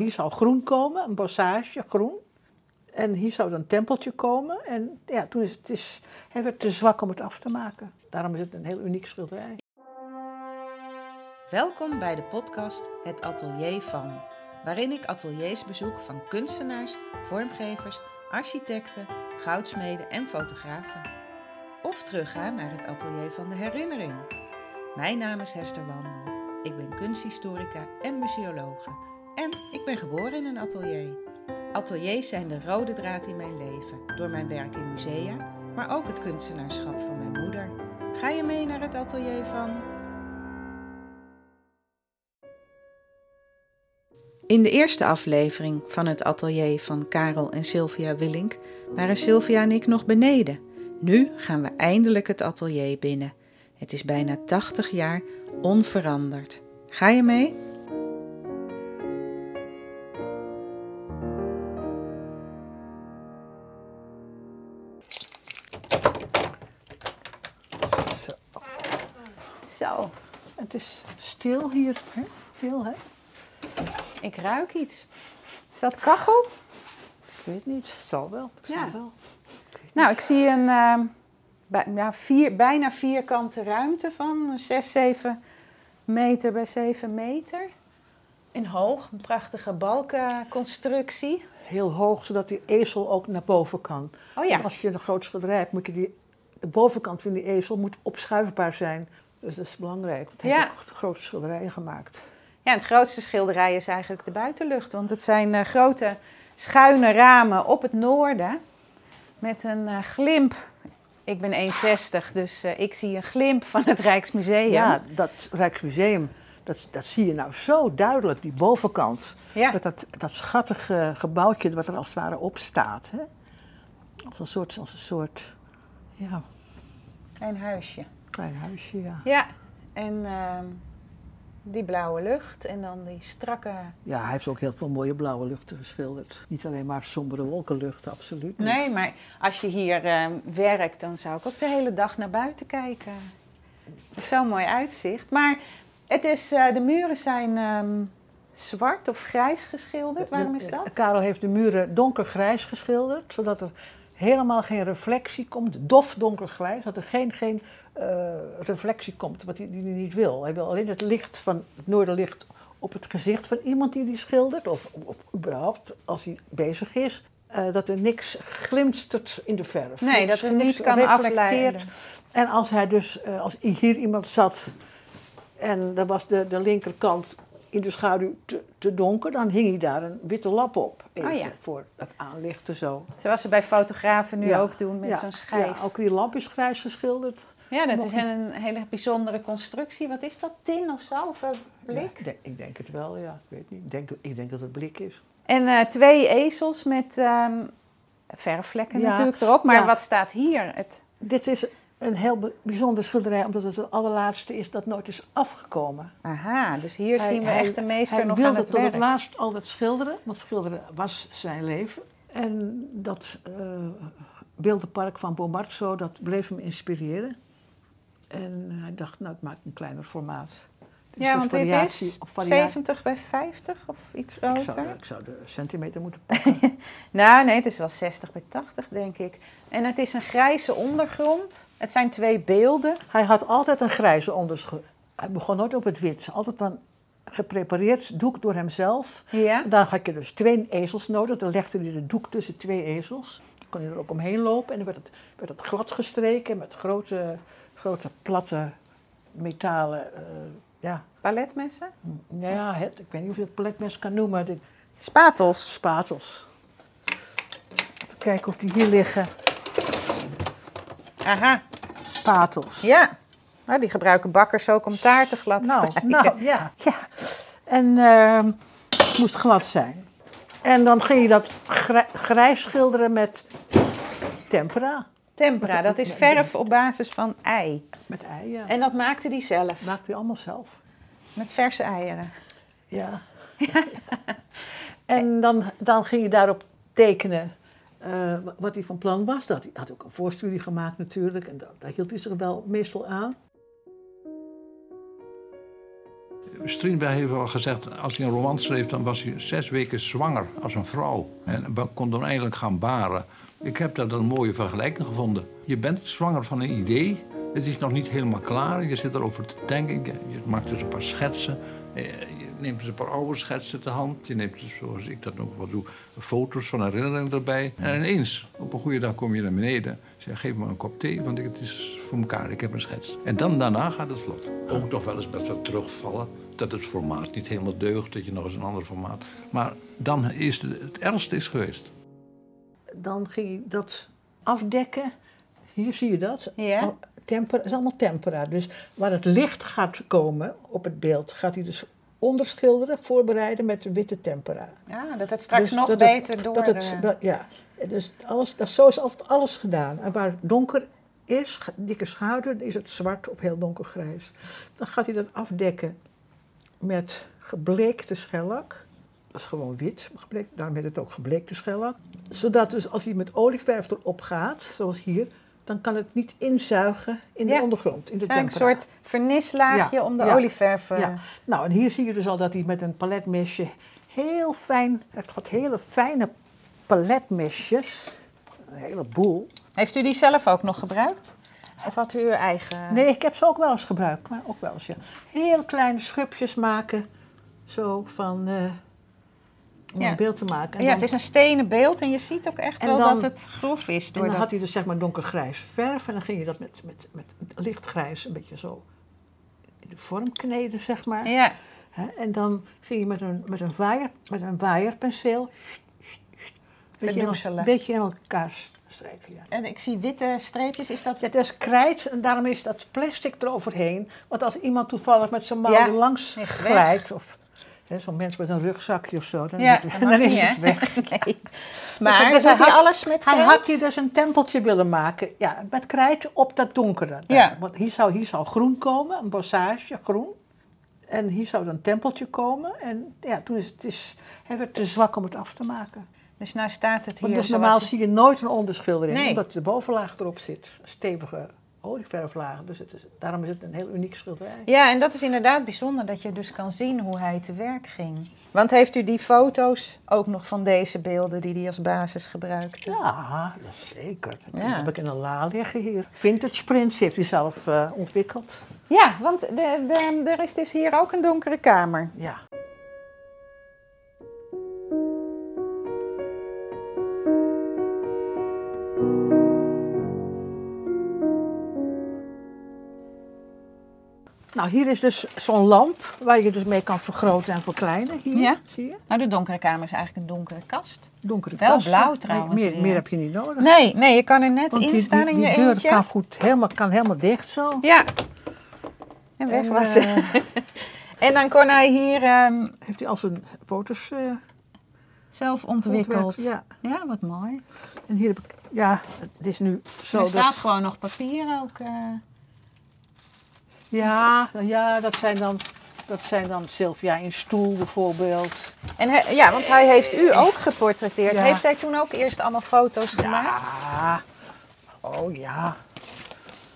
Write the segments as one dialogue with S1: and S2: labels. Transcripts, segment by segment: S1: Hier zou groen komen, een bossage groen. En hier zou dan een tempeltje komen. En ja, toen is het, het is, hij werd te zwak om het af te maken. Daarom is het een heel uniek schilderij.
S2: Welkom bij de podcast Het Atelier van, waarin ik ateliers bezoek van kunstenaars, vormgevers, architecten, goudsmeden en fotografen. Of terugga naar het Atelier van de Herinnering. Mijn naam is Hester Wandel. Ik ben kunsthistorica en museologe. En ik ben geboren in een atelier. Ateliers zijn de rode draad in mijn leven, door mijn werk in musea, maar ook het kunstenaarschap van mijn moeder. Ga je mee naar het atelier van. In de eerste aflevering van het atelier van Karel en Sylvia Willink waren Sylvia en ik nog beneden. Nu gaan we eindelijk het atelier binnen. Het is bijna 80 jaar onveranderd. Ga je mee?
S3: Zo,
S1: Het is stil hier. Hè? Stil, hè?
S3: ik ruik iets. Is dat kachel?
S1: Ik weet niet. Het zal wel. Het zal
S3: Ja.
S1: wel.
S3: Nou, ik zie een ehm, bij- nou, vier, bijna vierkante ruimte van 6, 7 meter bij 7 meter. In hoog, een prachtige balkenconstructie.
S1: Heel hoog, zodat die ezel ook naar boven kan.
S3: Oh ja,
S1: Want Als je een groot schilderij hebt, moet je die, de bovenkant van die ezel moet opschuifbaar zijn. Dus dat is belangrijk, want hij
S3: Ja.
S1: heeft ook grote schilderijen gemaakt.
S3: ja het grootste schilderij is eigenlijk de buitenlucht. Want het zijn eh, grote schuine ramen op het noorden. Met een eh, glimp. Ik ben 1,60, dus eh, ik zie een glimp van het Rijksmuseum.
S1: Ja, dat Rijksmuseum, dat, dat zie je nou zo duidelijk, die bovenkant.
S3: ja.
S1: Met dat, dat schattige gebouwtje wat er als het ware op staat. Hè? Als een soort, als een soort ja,
S3: klein huisje.
S1: klein huisje, ja.
S3: Ja, en ehm, die blauwe lucht en dan die strakke.
S1: Ja, hij heeft ook heel veel mooie blauwe luchten geschilderd. Niet alleen maar sombere wolkenluchten, absoluut niet.
S3: Nee, maar als je hier ehm, werkt, dan zou ik ook de hele dag naar buiten kijken. Zo'n mooi uitzicht. Maar het is, eh, de muren zijn ehm, zwart of grijs geschilderd. Waarom
S1: De-
S3: is dat?
S1: Karel heeft de muren donkergrijs geschilderd, zodat er helemaal geen reflectie komt. Dof donkergrijs, dat er geen, geen eh, reflectie komt, wat hij, die hij niet wil. Hij wil alleen het licht van het noorderlicht op het gezicht van iemand die die schildert, of, of überhaupt als hij bezig is. eh, dat er niks glinstert in de verf.
S3: Nee,
S1: Niks-
S3: dat het
S1: niks
S3: niet kan
S1: reflecteert.
S3: afleiden.
S1: En als hij dus, eh, als hier iemand zat en daar was de, de linkerkant in de schaduw te, te donker, dan hing hij daar een witte lap op. Even
S3: Oh ja.
S1: voor het aanlichten zo.
S3: Zoals ze bij fotografen nu
S1: Ja,
S3: ook doen met
S1: Ja,
S3: zo'n schijf.
S1: Ja, ook die lamp is grijs geschilderd.
S3: Ja, dat
S1: Mocht
S3: is een hele bijzondere constructie. Wat is dat? Tin of zo? Of eh, blik?
S1: Ja, ik, denk, ik denk het wel, ja. Ik weet niet. Ik denk, ik denk dat het blik is.
S3: En eh, twee ezels met ehm, verfvlekken
S1: Ja,
S3: natuurlijk erop. Maar
S1: ja.
S3: wat staat hier? Het,
S1: Dit is een heel be- bijzonder schilderij, omdat het de allerlaatste is dat nooit is afgekomen.
S3: aha, dus hier
S1: Hij-
S3: zien we
S1: hij-
S3: echt de meester
S1: Hij
S3: nog
S1: wilde
S3: aan het
S1: tot
S3: werk.
S1: het laatst altijd schilderen, want schilderen was zijn leven. En dat eh, beeldenpark van Bomarzo, dat bleef hem inspireren. En hij dacht, nou, ik maak een kleiner formaat. Het
S3: ja,
S1: een
S3: want
S1: soort
S3: dit
S1: variatie
S3: is
S1: op variatie.
S3: 70 bij 50 of iets
S1: Ik zou, de,
S3: groter.
S1: ik zou de centimeter moeten
S3: Nou, nee, het is wel 60 bij 80, denk ik. En het is een grijze ondergrond. Het zijn twee beelden.
S1: Hij had altijd een grijze onderschoen. Hij begon nooit op het wit. Altijd een geprepareerd doek door hemzelf.
S3: Ja.
S1: En dan had je dus twee ezels nodig. Dan legde hij de doek tussen twee ezels. Dan kon hij er ook omheen lopen. En dan werd het, werd het glad gestreken met grote, grote platte metalen. eh, ja,
S3: Paletmessen.
S1: nou ja het, ik weet niet of je het plekmes kan noemen. De
S3: Spatels.
S1: spatels. Even kijken of die hier liggen.
S3: Aha,
S1: Spatels.
S3: ja. Nou, die gebruiken bakkers ook om taarten glad te
S1: Nou,
S3: strijken.
S1: nou ja. ja. En ehm, het moest glad zijn. En dan ging je dat grij- grijs schilderen met tempera,
S3: Tempera, dat is verf op basis van ei.
S1: met eieren.
S3: En dat maakte die zelf,
S1: maakte hij allemaal zelf.
S3: met verse eieren.
S1: Ja. en dan, dan ging je daarop tekenen eh, wat hij van plan was. Dat, hij had ook een voorstudie gemaakt natuurlijk. En dat, daar hield hij zich wel meestal aan.
S4: Strindberg heeft wel gezegd, als hij een roman schreef, dan was hij zes weken zwanger als een vrouw. En ba- kon dan eindelijk gaan baren. Ik heb daar dan een mooie vergelijking gevonden. Je bent zwanger van een idee, het is nog niet helemaal klaar, je zit erover te denken, je, je maakt dus een paar schetsen. eh, Je neemt dus een paar oude schetsen te hand, je neemt dus, zoals ik dat ook wel doe, foto's van herinneringen erbij. En ineens, op een goede dag kom je naar beneden, zeg geef me een kop thee, want ik, het is voor elkaar, ik heb een schets. En dan daarna gaat het vlot. Ook nog wel eens best wel terugvallen, dat het formaat niet helemaal deugt, dat je nog eens een ander formaat. Maar dan is het, het ergste is geweest.
S1: Dan ging ik dat afdekken. Hier zie je dat.
S3: Ja.
S1: Al- Tempera, het is allemaal tempera. Dus waar het licht gaat komen op het beeld, gaat hij dus onderschilderen, voorbereiden met witte tempera.
S3: Ah, dat het straks
S1: Dus
S3: nog
S1: dat het-
S3: beter door...
S1: Dat het,
S3: eh,
S1: dat, ja, dus alles, dat, zo is altijd alles gedaan. En waar het donker is, ge- dikke schaduw, is het zwart of heel donkergrijs. Dan gaat hij dat afdekken met gebleekte schellak. Dat is gewoon wit, gebleekt, daarom heet het ook gebleekte schellak. Zodat dus als hij met olieverf erop gaat, zoals hier, dan kan het niet inzuigen in
S3: Ja.
S1: de ondergrond, in de
S3: Zijn een
S1: tempera.
S3: soort vernislaagje
S1: Ja,
S3: om de
S1: ja,
S3: olieverf... eh,
S1: ja. Nou, en hier zie je dus al dat hij met een paletmesje heel fijn, hij heeft gehad hele fijne paletmesjes, een heleboel.
S3: Heeft u die zelf ook nog gebruikt? Of had u uw eigen?
S1: Nee, ik heb ze ook wel eens gebruikt, maar ook wel eens, ja. Heel kleine schubjes maken, zo van, eh, om
S3: Ja.
S1: een beeld te maken. En
S3: ja,
S1: dan-
S3: het is een stenen beeld en je ziet ook echt
S1: En
S3: wel
S1: dan-
S3: dat het grof is.
S1: En dan
S3: Doordat...
S1: had hij dus zeg maar donkergrijs verf en dan ging je dat met, met, met lichtgrijs een beetje zo in de vorm kneden, zeg maar.
S3: Ja,
S1: Hè, en dan ging je met een, met een, waaier, met een waaierpenseel. Een beetje in el-
S3: Verdoezelen.
S1: Een beetje in elkaar s- strijken. Ja.
S3: en ik zie witte streepjes. Is dat...
S1: Het is krijt en daarom is dat plastic eroverheen. Want als iemand toevallig met zijn mouw
S3: Ja,
S1: er langs
S3: is weg.
S1: glijdt, of hè, zo'n mens met een rugzakje of zo, dan,
S3: Ja,
S1: is
S3: dat
S1: het,
S3: mag
S1: dan is
S3: niet, hè?
S1: het weg.
S3: Nee.
S1: Dus
S3: Maar
S1: hij- dus
S3: doet
S1: hij
S3: hij
S1: had-
S3: alles met
S1: Hij
S3: krijt?
S1: had hier dus een tempeltje willen maken. Ja, met krijt op dat donkere. daar.
S3: Ja.
S1: Want hier zou, hier zou groen komen, een bossage groen. En hier zou dan een tempeltje komen. En ja, toen is het is, hij werd te zwak om het af te maken.
S3: Dus nou staat het hier
S1: Want dus
S3: zoals
S1: normaal
S3: het-
S1: zie je nooit een onderschildering,
S3: Nee.
S1: omdat de bovenlaag erop zit. Een stevige olieverflaag. Dus het is, daarom is het een heel uniek schilderij.
S3: Ja, en dat is inderdaad bijzonder dat je dus kan zien hoe hij te werk ging. Want heeft u die foto's ook nog van deze beelden die hij als basis gebruikte?
S1: Ja, dat zeker. Dat
S3: Ja.
S1: heb ik in een la liggen hier. Vintage prints heeft hij zelf eh, ontwikkeld.
S3: Ja, want de, de, er is dus hier ook een donkere kamer.
S1: Ja. Nou, hier is dus zo'n lamp waar je dus mee kan vergroten en verkleinen. Hier,
S3: Ja.
S1: zie je?
S3: Nou, de donkere kamer is eigenlijk een donkere kast.
S1: Donkere
S3: Wel
S1: kasten.
S3: blauw
S1: Nee,
S3: trouwens
S1: Meer,
S3: weer.
S1: meer heb je niet nodig.
S3: Nee, nee, je kan er net
S1: Want
S3: in
S1: die,
S3: staan
S1: die,
S3: in
S1: die
S3: je
S1: deur
S3: eentje.
S1: kan goed helemaal, kan helemaal dicht zo.
S3: Ja. En weg
S1: En,
S3: was ze.
S1: eh,
S3: En dan kon hij hier ehm,
S1: heeft hij al zijn foto's eh,
S3: zelf ontwikkeld.
S1: ontwerpt. Ja.
S3: Ja, wat mooi.
S1: En hier heb ik, ja, het is nu zo
S3: er
S1: dat...
S3: staat gewoon nog papier ook. eh.
S1: Ja, nou ja dat, zijn dan, dat zijn dan Sylvia in stoel bijvoorbeeld.
S3: En hij- ja, want hij heeft u ook geportretteerd.
S1: Ja.
S3: Heeft hij toen ook eerst allemaal foto's gemaakt?
S1: Ja. Oh ja.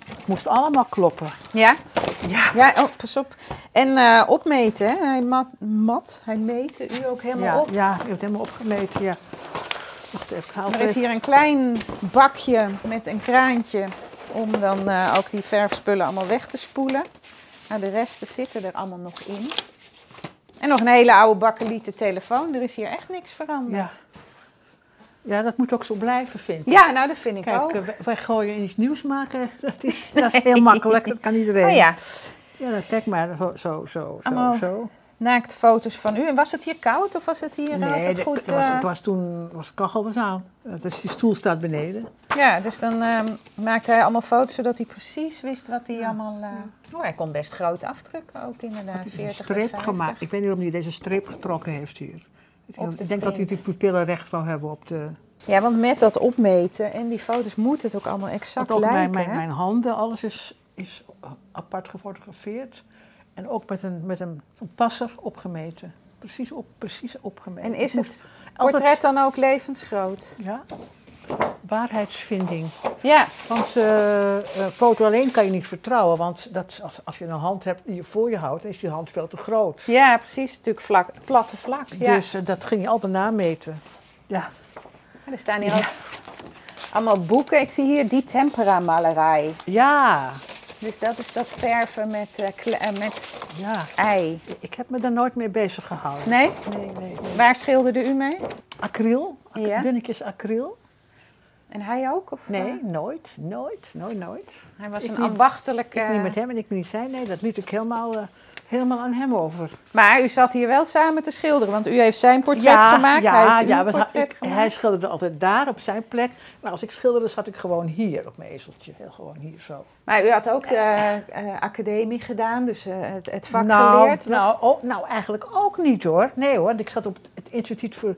S1: Het moest allemaal kloppen.
S3: Ja.
S1: Ja.
S3: Ja, oh, pas op. En eh, opmeten, hè. Hij mat, mat, hij meette u ook helemaal
S1: ja,
S3: op.
S1: ja, je hebt helemaal opgemeten, ja. Wacht even, ik haal
S3: Er
S1: het
S3: is
S1: even.
S3: hier een klein bakje met een kraantje om dan eh, ook die verfspullen allemaal weg te spoelen. Nou, de resten zitten er allemaal nog in. En nog een hele oude bakkelieten telefoon. Er is hier echt niks
S1: Ja.
S3: veranderd.
S1: ja, dat moet ook zo blijven, vind ik.
S3: Ja, nou dat vind ik ook.
S1: Kijk, eh, wij- wij gooien iets nieuws maken, dat is, dat is heel makkelijk, dat kan iedereen.
S3: oh ja,
S1: ja, dat- kijk maar, zo, zo, zo, zo.
S3: Allemaal
S1: zo.
S3: naaktfoto's van u. En was het hier koud of was het hier eh,
S1: Nee,
S3: altijd
S1: dat- dat
S3: goed?
S1: was,
S3: eh,
S1: het was toen, was de kachel was aan. Dus die stoel staat beneden.
S3: Ja, dus dan ehm, maakte hij allemaal foto's zodat hij precies wist wat hij allemaal... eh, Oh, hij kon best groot afdrukken ook inderdaad.
S1: Het is
S3: 40
S1: dus een
S3: bij
S1: streep
S3: 50.
S1: gemaakt. Ik weet niet waarom hij deze streep getrokken heeft hier. Ik
S3: Op de
S1: denk dat hij
S3: print.
S1: die pupillen recht wou hebben op de...
S3: Ja, want met dat opmeten en die foto's moet het ook allemaal
S1: Want
S3: exact
S1: ook
S3: lijken.
S1: mijn, mijn,
S3: hè?
S1: mijn handen, alles is, is apart gefotografeerd. En ook met een, met een, een passer opgemeten. Precies, op, precies opgemeten.
S3: En is
S1: moest
S3: het
S1: altijd-
S3: portret dan ook levensgroot?
S1: Ja. waarheidsvinding.
S3: Ja,
S1: Want eh, een foto alleen kan je niet vertrouwen. Want dat, als, als je een hand hebt die je voor je houdt, is die hand veel te groot.
S3: ja precies. Natuurlijk vlak, platte vlak. Ja.
S1: Dus eh, dat ging je altijd nameten. Ja.
S3: er staan hier ook allemaal boeken. Ik zie hier die temperamalerij.
S1: Ja.
S3: Dus dat is dat verven met, eh, kle- eh, met
S1: Ja.
S3: ei.
S1: Ik heb me daar nooit mee bezig gehouden.
S3: Nee?
S1: Nee, nee.
S3: Waar schilderde u mee?
S1: Acryl? Ac-
S3: Ja.
S1: Dunnetjes acryl?
S3: En hij ook? Of,
S1: Nee,
S3: eh,
S1: nooit, nooit, nooit, nooit.
S3: hij was
S1: ik
S3: een
S1: niet.
S3: ambachtelijke...
S1: Ik niet met hem en ik niet zijn. Nee, dat liet ik helemaal, eh, helemaal aan hem over.
S3: Maar u zat hier wel samen te schilderen, want u heeft zijn portret gemaakt, hij heeft uw
S1: want
S3: portret
S1: ik-
S3: gemaakt.
S1: Hij schilderde altijd daar op zijn plek. Maar als ik schilderde, zat ik gewoon hier op mijn ezeltje. Heel gewoon hier zo.
S3: Maar u had ook de eh, academie gedaan, dus eh, het, het vak
S1: nou,
S3: geleerd. was-
S1: Nou, oh, nou, eigenlijk ook niet hoor. Nee hoor, ik zat op het Instituut voor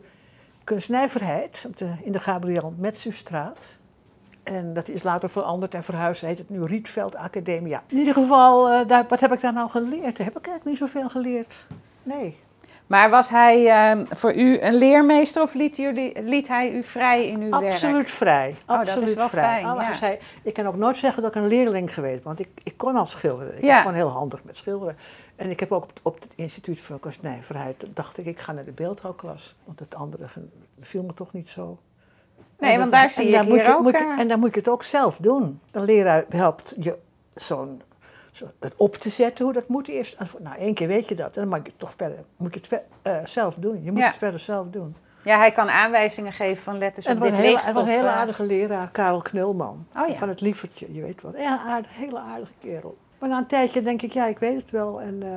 S1: Kunstnijverheid op de, in de Gabriel Metsustraat. En dat is later veranderd en verhuisd. Heet het nu Rietveld Academia. In ieder geval, eh, daar, wat heb ik daar nou geleerd? Daar heb ik eigenlijk niet zoveel geleerd. Nee.
S3: Maar was hij eh, voor u een leermeester of liet, jullie, liet hij u vrij in uw
S1: Absoluut
S3: werk?
S1: vrij.
S3: Oh, dat is
S1: Absoluut
S3: wel
S1: vrij.
S3: fijn,
S1: Alle-
S3: ja.
S1: zei, ik kan ook nooit zeggen dat ik een leerling geweest ben, want ik, ik kon al schilderen. Ik
S3: Ja.
S1: was gewoon heel handig met schilderen. En ik heb ook op, op het instituut voor kunstnijverheid, dacht ik, ik ga naar de beeldhouwklas. Want het andere ge- viel me toch niet zo.
S3: Nee,
S1: En
S3: want
S1: dat-
S3: daar zie
S1: en
S3: ik
S1: moet
S3: hier
S1: je-
S3: ook,
S1: moet je-
S3: eh.
S1: en dan moet je het ook zelf doen. Een leraar helpt je zo'n... zo- Het op te zetten, hoe dat moet eerst. Nou, één keer weet je dat. En dan mag je het toch verder, moet je het ver- eh, zelf doen. Je moet
S3: Ja.
S1: het verder zelf doen.
S3: Ja, hij kan aanwijzingen geven van letters
S1: En
S3: Dus op
S1: het was,
S3: dit
S1: een hele,
S3: licht.
S1: het was een
S3: of,
S1: hele
S3: eh,
S1: aardige leraar, Karel Knulman.
S3: Oh ja.
S1: Van het Lievertje, je weet wel. Ja, aard- hele aardige kerel. Maar na een tijdje denk ik, ja, ik weet het wel. En eh,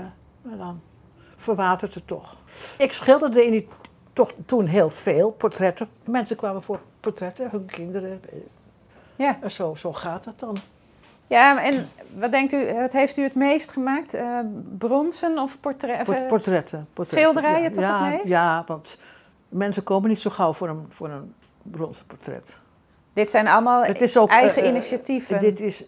S1: maar dan verwatert het toch. Ik schilderde in die, toch toen heel veel portretten. Mensen kwamen voor portretten, hun kinderen.
S3: Ja.
S1: En zo, zo gaat dat dan.
S3: Ja, en wat denkt u, wat heeft u het meest gemaakt? Eh, bronzen of portret? of,
S1: Port-
S3: eh,
S1: portretten, portretten.
S3: schilderijen
S1: ja.
S3: toch
S1: ja,
S3: het meest?
S1: Ja, want mensen komen niet zo gauw voor een, voor een bronzen portret.
S3: Dit zijn allemaal
S1: Het is ook,
S3: Oh, eigen
S1: eh, eh,
S3: initiatieven.
S1: Dit is,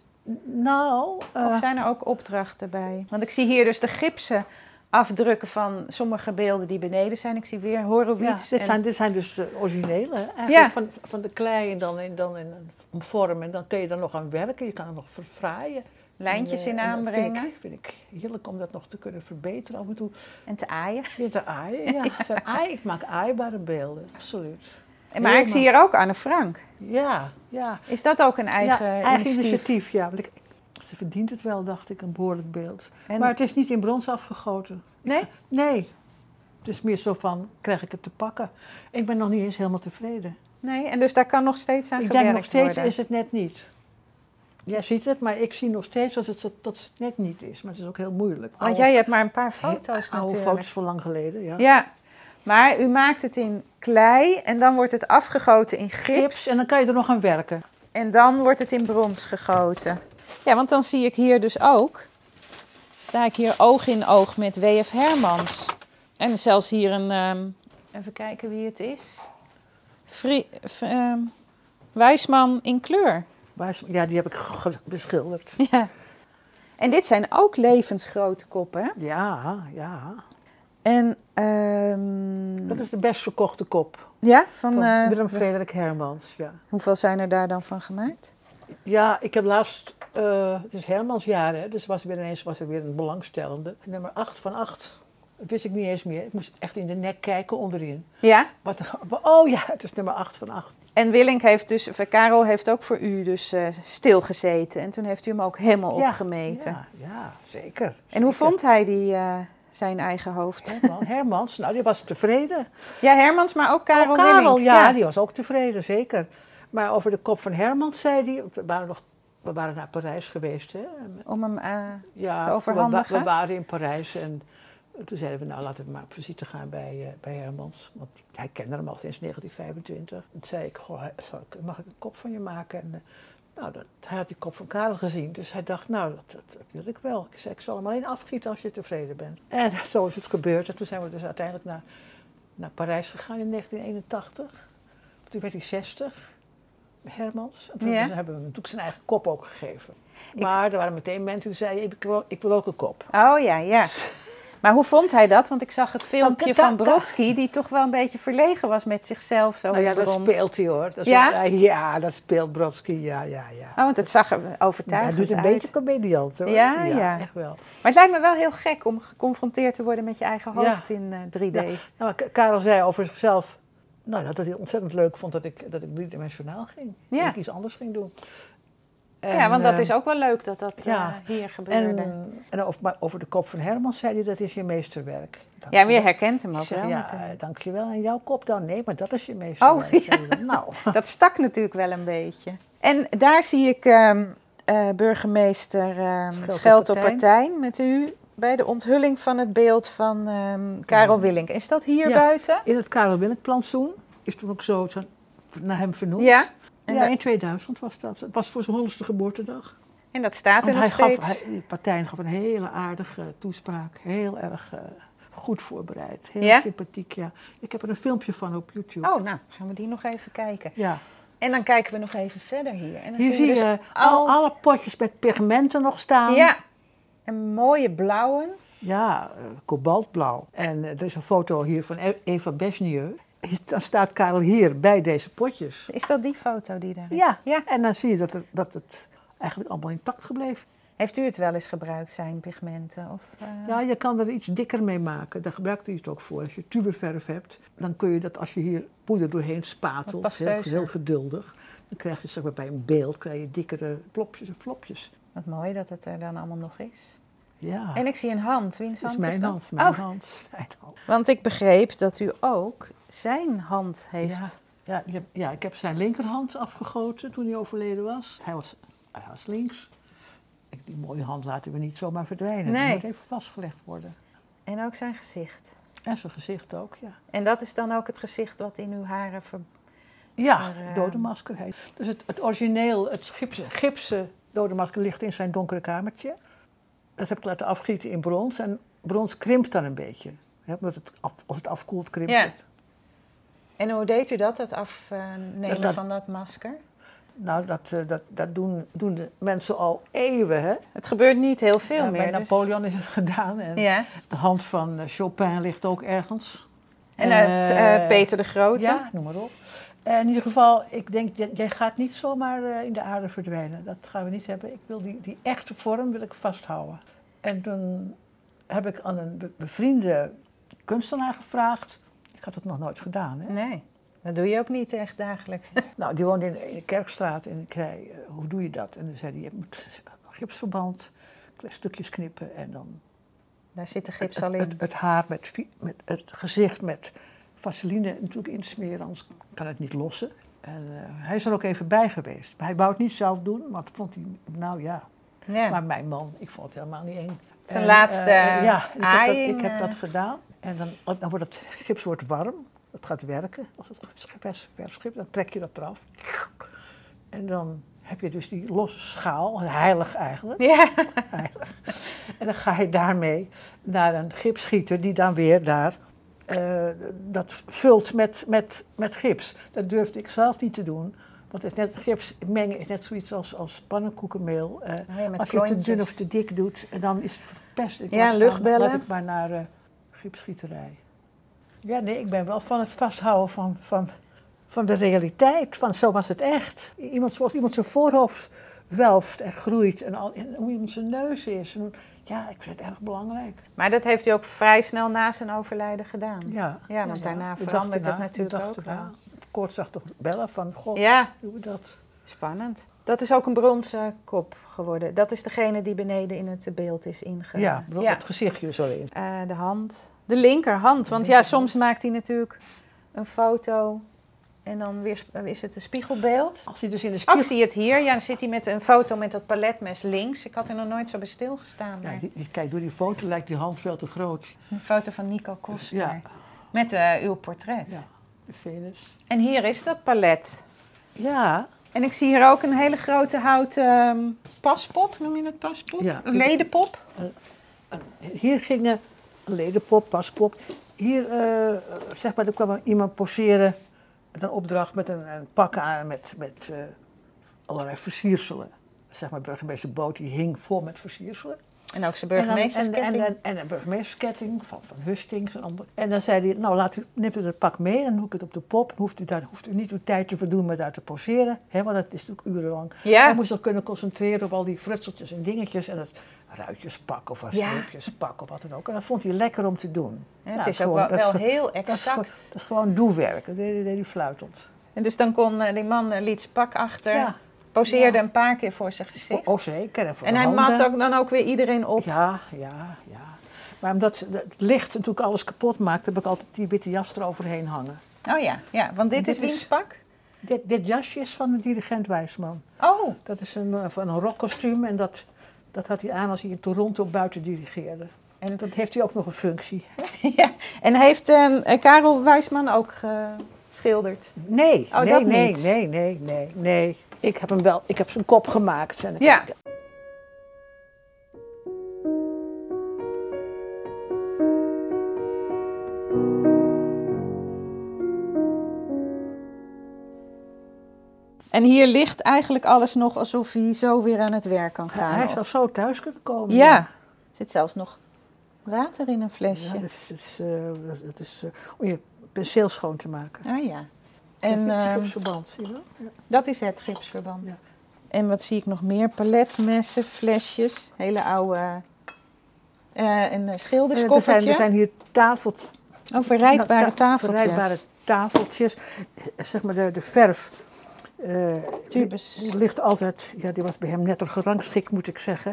S1: nou... eh,
S3: Of zijn er ook opdrachten bij? Want ik zie hier dus de gipsen afdrukken van sommige beelden die beneden zijn. Ik zie weer
S1: Ja,
S3: Horowitz.
S1: dit,
S3: en-
S1: zijn, dit zijn dus de originele. hè, Eigenlijk
S3: Ja.
S1: van, van de klei en dan, in, dan in een vorm. En dan kun je er nog aan werken. Je kan er nog verfraaien.
S3: Lijntjes
S1: En,
S3: in
S1: eh, en dat
S3: aanbrengen en,
S1: Vind ik, vind ik heerlijk om dat nog te kunnen verbeteren af en toe.
S3: te aaien.
S1: Weer te aaien. Ja, Het zijn aai- ik maak aaibare beelden. Absoluut.
S3: En maar ik
S1: Helemaal.
S3: zie hier ook Anne Frank.
S1: Ja, ja.
S3: Is dat ook een eigen,
S1: ja, eigen initiatief.
S3: initiatief?
S1: ja. Want ik, ze verdient het wel, dacht ik, een behoorlijk beeld.
S3: En-
S1: Maar het is niet in brons afgegoten.
S3: Nee?
S1: Nee. Het is meer zo van, krijg ik het te pakken? Ik ben nog niet eens helemaal tevreden.
S3: Nee, en dus daar kan nog steeds aan
S1: Ik denk
S3: gewerkt
S1: nog steeds
S3: worden. Dus-
S1: is het net niet. Jij ziet het, maar ik zie nog steeds dat het, dat het net niet is. Maar het is ook heel moeilijk.
S3: Want jij hebt maar een paar
S1: Oude-
S3: foto's
S1: Oh. oude
S3: natuurlijk.
S1: foto's van lang geleden, ja.
S3: Ja, maar u maakt het in klei en dan wordt het afgegoten in gips.
S1: Gips, en dan kan je er nog aan werken.
S3: En dan wordt het in brons gegoten. Ja, want dan zie ik hier dus ook. Sta ik hier oog in oog met W.F. Hermans. En zelfs hier een. ehm, even kijken wie het is. Fri, f- ehm, Wijsman in kleur.
S1: Waar is- Ja, die heb ik ge- beschilderd.
S3: Ja. En dit zijn ook levensgrote koppen. hè?
S1: Ja, ja.
S3: En. ehm,
S1: Dat is de best verkochte kop
S3: ja, van.
S1: van
S3: eh,
S1: Willem Frederik Hermans. Ja.
S3: hoeveel zijn er daar dan van gemaakt?
S1: ja, ik heb laatst... eh, het is Hermans jaar, hè, dus was er weer ineens was er weer een belangstellende. Nummer 8 van 8. Dat wist ik niet eens meer. Ik moest echt in de nek kijken onderin.
S3: Ja.
S1: Wat, er- oh ja, het is nummer 8 van 8.
S3: En Willink heeft dus, of Karel heeft ook voor u dus eh, stilgezeten. En toen heeft u hem ook helemaal
S1: Ja,
S3: opgemeten.
S1: Ja, ja, zeker.
S3: En hoe
S1: zeker.
S3: vond hij die, eh, zijn eigen hoofd?
S1: Herman, Hermans, nou die was tevreden.
S3: Ja, Hermans, maar ook Karel,
S1: Oh, Karel
S3: Willink.
S1: ja, die was ook tevreden, zeker. Maar over de kop van Hermans zei hij, we waren, nog, we waren naar Parijs geweest. Hè?
S3: Om hem, eh,
S1: Ja,
S3: Te
S1: we wa-
S3: overhandigen?
S1: We, waren in Parijs en toen zeiden we, nou laten we maar op visite gaan bij, eh, bij Hermans. Want die- hij kende hem al sinds 1925. Toen zei ik, goh, hij- zal ik- mag ik een kop van je maken? En, eh, nou, dat, hij had die kop van Karel gezien, dus hij dacht, nou, dat, dat, dat wil ik wel. Ik zei, ik zal hem alleen afgieten als je tevreden bent. En zo is het gebeurd. En toen zijn we dus uiteindelijk naar, naar Parijs gegaan in 1981. Toen werd hij 60, Hermans. En toen
S3: Ja.
S1: hebben we hem natuurlijk zijn eigen kop ook gegeven.
S3: Ik-
S1: Maar er waren meteen mensen die zeiden, ik wil, ik wil ook een kop.
S3: Oh ja, ja. Maar hoe vond hij dat? Want ik zag het filmpje
S1: dat-
S3: van
S1: dat-
S3: Brodsky, die toch wel een beetje verlegen was met zichzelf. Zo
S1: Nou ja,
S3: in
S1: dat
S3: brons.
S1: speelt hij hoor. Dat is-
S3: Ja?
S1: ja, dat speelt Brodsky, ja, ja, ja.
S3: Oh, want het zag er
S1: Hij
S3: overtuigend
S1: doet een
S3: uit.
S1: beetje comediant hoor.
S3: Ja, ja.
S1: Echt wel.
S3: Maar het lijkt me wel heel gek om geconfronteerd te worden met je eigen
S1: Ja.
S3: hoofd in eh, 3D.
S1: Nou, maar K- Karel zei over zichzelf nou, dat, dat hij ontzettend leuk vond dat ik, dat ik driedimensionaal ging.
S3: Ja.
S1: Dat ik iets anders ging doen.
S3: Ja,
S1: En,
S3: want dat
S1: eh,
S3: is ook wel leuk dat dat eh,
S1: ja.
S3: hier gebeurde.
S1: En, eh, en over, maar over de kop van Herman zei hij, dat is je meesterwerk. Dank
S3: ja, maar je
S1: je wel.
S3: herkent hem
S1: Ik
S3: ook
S1: zeg,
S3: wel.
S1: ja,
S3: meteen.
S1: eh, dankjewel. En jouw kop dan? Nee, maar dat is je meesterwerk.
S3: Oh, ja.
S1: zei hij dan. Nou,
S3: Dat stak natuurlijk wel een beetje. En daar zie ik ehm, eh, burgemeester ehm
S1: Schelter
S3: Schelter-Partijn met u bij de onthulling van het beeld van ehm, Karel
S1: Ja.
S3: Willink. Is dat hier
S1: Ja.
S3: buiten?
S1: in het Karel Willink plantsoen is toen ook zo zo naar hem vernoemd.
S3: Ja. En,
S1: Ja,
S3: da-
S1: in 2000 was dat. Het was voor zijn honderdste geboortedag.
S3: en dat staat er nog
S1: Want Oh, hij
S3: steeds.
S1: gaf, hij, die Partijn gaf een hele aardige toespraak. Heel erg eh, goed voorbereid. Heel
S3: Ja?
S1: sympathiek, ja. Ik heb er een filmpje van op YouTube.
S3: Oh, nou, gaan we die nog even kijken.
S1: Ja.
S3: En dan kijken we nog even verder hier. En dan
S1: Hier
S3: zien
S1: zie
S3: we
S1: je ehm,
S3: dus al-
S1: al, alle potjes met pigmenten nog staan.
S3: Ja, een mooie blauwe.
S1: Ja, eh, kobaltblauw. En eh, er is een foto hier van E- Eva Besnieu. Hier- Dan staat Karel hier bij deze potjes.
S3: Is dat die foto die daar is?
S1: Ja,
S3: ja.
S1: en dan zie je dat, er, dat het eigenlijk allemaal intact gebleven.
S3: Heeft u het wel eens gebruikt, zijn pigmenten? Of, eh,
S1: Ja, je kan er iets dikker mee maken. Daar gebruikt hij het ook voor. Als je tubeverf hebt, dan kun je dat als je hier poeder doorheen
S3: Wat
S1: spatelt, heel,
S3: pasteuser.
S1: heel geduldig, dan krijg je zeg maar, bij een beeld krijg je dikkere plopjes en flopjes.
S3: Wat mooi dat het er dan allemaal nog is.
S1: Ja,
S3: En ik zie een hand. Wiens
S1: dat
S3: hand
S1: is
S3: is,
S1: mijn
S3: dat?
S1: hand, mijn
S3: oh,
S1: hand, mijn hand.
S3: Want ik begreep dat u ook zijn hand heeft.
S1: Ja. Ja, ik heb- ja, ik heb zijn linkerhand afgegoten toen hij overleden was. Hij was, hij was links. Ik- Die mooie hand laten we niet zomaar verdwijnen.
S3: Nee.
S1: Die moet even vastgelegd worden.
S3: En ook zijn gezicht.
S1: En zijn gezicht ook, ja.
S3: En dat is dan ook het gezicht wat in uw haren ver...
S1: Ja,
S3: Maar, eh,
S1: dodenmasker heet. Dus het, het origineel, het gipsen, gipsen dodenmasker ligt in zijn donkere kamertje. Dat heb ik laten afgieten in brons. En brons krimpt dan een beetje. Hè, omdat het af- als het afkoelt, krimpt
S3: Ja.
S1: het.
S3: En hoe deed u dat, dat afnemen
S1: Dat- dat-
S3: van dat masker?
S1: Nou, dat, eh, dat, dat doen, doen de mensen al eeuwen. Hè?
S3: Het gebeurt niet heel veel
S1: Ja,
S3: meer.
S1: bij
S3: dus-
S1: Napoleon is het gedaan. En
S3: Ja.
S1: De hand van eh, Chopin ligt ook ergens.
S3: En uit
S1: Eh,
S3: eh, Peter de Grote.
S1: Ja, noem maar op. Eh, in ieder geval, ik denk, jij, jij gaat niet zomaar eh, in de aarde verdwijnen. Dat gaan we niet hebben. Ik wil die, die echte vorm wil ik vasthouden. En toen heb ik aan een be- bevriende kunstenaar gevraagd. Ik had dat nog nooit gedaan. Hè?
S3: Nee, dat doe je ook niet echt dagelijks.
S1: Nou, die woonde in de, in de Kerkstraat en ik zei, eh, hoe doe je dat? En dan zei hij, je moet gipsverband, kleine stukjes knippen en dan
S3: Daar zit de gips al
S1: het, het,
S3: in.
S1: het haar met, vi- met het gezicht met vaseline natuurlijk insmeren, anders kan het niet lossen. En, eh, hij is er ook even bij geweest. Maar hij wou het niet zelf doen, want vond hij, nou ja.
S3: Ja.
S1: Maar mijn man, ik vond het helemaal niet eng.
S3: Zijn
S1: En,
S3: laatste
S1: eh, Ja, en ik, heb dat,
S3: aaiing,
S1: ik heb
S3: eh.
S1: dat gedaan. En dan, dan wordt het gips wordt warm. Het gaat werken. Als het vers, vers gips, dan trek je dat eraf. En dan heb je dus die losse schaal, heilig eigenlijk.
S3: Ja.
S1: En dan ga je daarmee naar een gipsgieter die dan weer daar eh, dat vult met, met, met gips. Dat durfde ik zelf niet te doen. Want het is net, gips mengen is net zoiets als, als pannenkoekenmeel. Eh,
S3: Oh ja, met
S1: als je het te dun
S3: klontjes.
S1: of te dik doet, eh, dan is het verpest. Ik
S3: Ja,
S1: laat-
S3: luchtbellen.
S1: Laat ik maar naar eh gipsgieterij. Ja, nee, ik ben wel van het vasthouden van, van, van de realiteit. Van zo was het echt. Iemand, zoals iemand zijn voorhoofd welft en groeit. En, al, en hoe iemand zijn neus is. En, ja, ik vind het erg belangrijk.
S3: Maar dat heeft u ook vrij snel na zijn overlijden gedaan.
S1: Ja,
S3: Ja, want daarna
S1: De dag
S3: verandert
S1: daarna,
S3: dat
S1: de dag
S3: natuurlijk ook
S1: daarna.
S3: wel.
S1: Koortsachtig bellen van, goh,
S3: Ja,
S1: hoe we dat?
S3: spannend. Dat is ook een bronzen kop geworden. Dat is degene die beneden in het beeld is ingegaan.
S1: Ja, bedoel, het gezichtje zo in.
S3: de hand. De linkerhand. Want ja, soms maakt hij natuurlijk een foto en dan weer sp- is het een spiegelbeeld.
S1: Als hij dus in de
S3: Oh, ik
S1: spiegel...
S3: zie het hier. Ja, dan zit hij met een foto met dat paletmes links. Ik had er nog nooit zo bij stilgestaan.
S1: Ja,
S3: Maar
S1: die- die- kijk, door die foto lijkt die hand veel te groot.
S3: Een foto van Nico Koster.
S1: Ja.
S3: Met eh, uw portret.
S1: Ja, de Venus.
S3: En hier is dat palet.
S1: Ja,
S3: En ik zie hier ook een hele grote houten ehm, paspop, noem je het paspop?
S1: Ja.
S3: Een ledenpop.
S1: hier eh, gingen ledenpop, paspop. Hier, eh, zeg maar, er kwam iemand poseren met een opdracht met een, een pak aan met, met eh, allerlei versierselen. Zeg maar, burgemeester Boot, die hing vol met versierselen.
S3: En ook zijn
S1: En dan- en,
S3: burgemeestersketting.
S1: en, en, en een burgemeestersketting van, van Hustings en ander. En dan zei hij, nou laat u, neemt u dat pak mee en doe ik het op de pop. Dan hoeft u, daar, hoeft u niet uw tijd te verdoen met daar te poseren. Hè, want dat is natuurlijk urenlang.
S3: Ah.
S1: Hij
S5: Ja.
S1: moest zich kunnen concentreren op al die frutseltjes en dingetjes. En het ruitjespak of een
S5: Ja.
S1: streepjespak of wat dan ook. En dat vond hij lekker om te doen.
S3: het
S1: Nou,
S3: is ook
S1: gewoon-
S3: wel,
S1: dat is
S3: wel
S1: ge-
S3: heel
S1: Dat is, gewoon,
S3: exact.
S1: dat is gewoon doewerk. Dat deed, deed hij fluitend.
S3: En dus dan kon eh, die man, eh, liet zijn pak achter,
S1: Ja,
S3: poseerde
S1: Ja.
S3: een paar keer voor zijn gezicht.
S1: oh zeker. En, voor
S3: en
S1: de
S3: hij
S1: handen.
S3: mat ook dan ook weer iedereen op.
S1: Ja, ja, ja. Maar omdat ze- het licht natuurlijk alles kapot maakt, heb ik altijd die witte jas eroverheen hangen.
S3: Oh ja, ja want dit,
S1: Dit
S3: is
S1: is-
S3: wiens pak?
S1: Dit, dit jasje is van de dirigent Wijsman.
S3: Oh,
S1: Dat is een, eh, van een rockkostuum en dat, dat had hij aan als hij in Toronto buiten dirigeerde.
S3: En-
S1: En dat heeft hij ook nog een functie.
S3: ja. En heeft eh, Karel Wijsman ook geschilderd?
S1: Nee,
S3: Oh,
S1: nee,
S3: dat
S1: nee,
S3: niet.
S1: nee, nee, nee, nee. Ik heb hem wel, ik heb zijn kop gemaakt. En ik
S3: Ja.
S1: heb-
S3: En hier ligt eigenlijk alles nog alsof hij zo weer aan het werk kan gaan.
S1: hij
S3: of-
S1: zou zo thuis kunnen komen.
S3: Ja, er zit zelfs nog water in een
S1: Ja,
S3: flesje.
S1: dat is, dat is, eh, dat is eh, om je penseel schoon te maken.
S3: Ah ja. En
S1: Het
S3: eh,
S1: schubsverband, zie je wel? Ja.
S3: dat is het gipsverband.
S1: Ja.
S3: En wat zie ik nog meer? Paletmessen, flesjes, hele oude... eh een eh,
S1: Eh, Er
S3: schilderskoffertje.
S1: zijn, er zijn hier tafeltjes.
S3: Oh, verrijdbare
S1: Nou, ta-
S3: tafeltjes.
S1: Verrijdbare tafeltjes. Eh, Zeg maar de, de verf. eh,
S3: Tubes.
S1: Die, die ligt altijd, ja, die was bij hem netter gerangschikt, moet ik zeggen.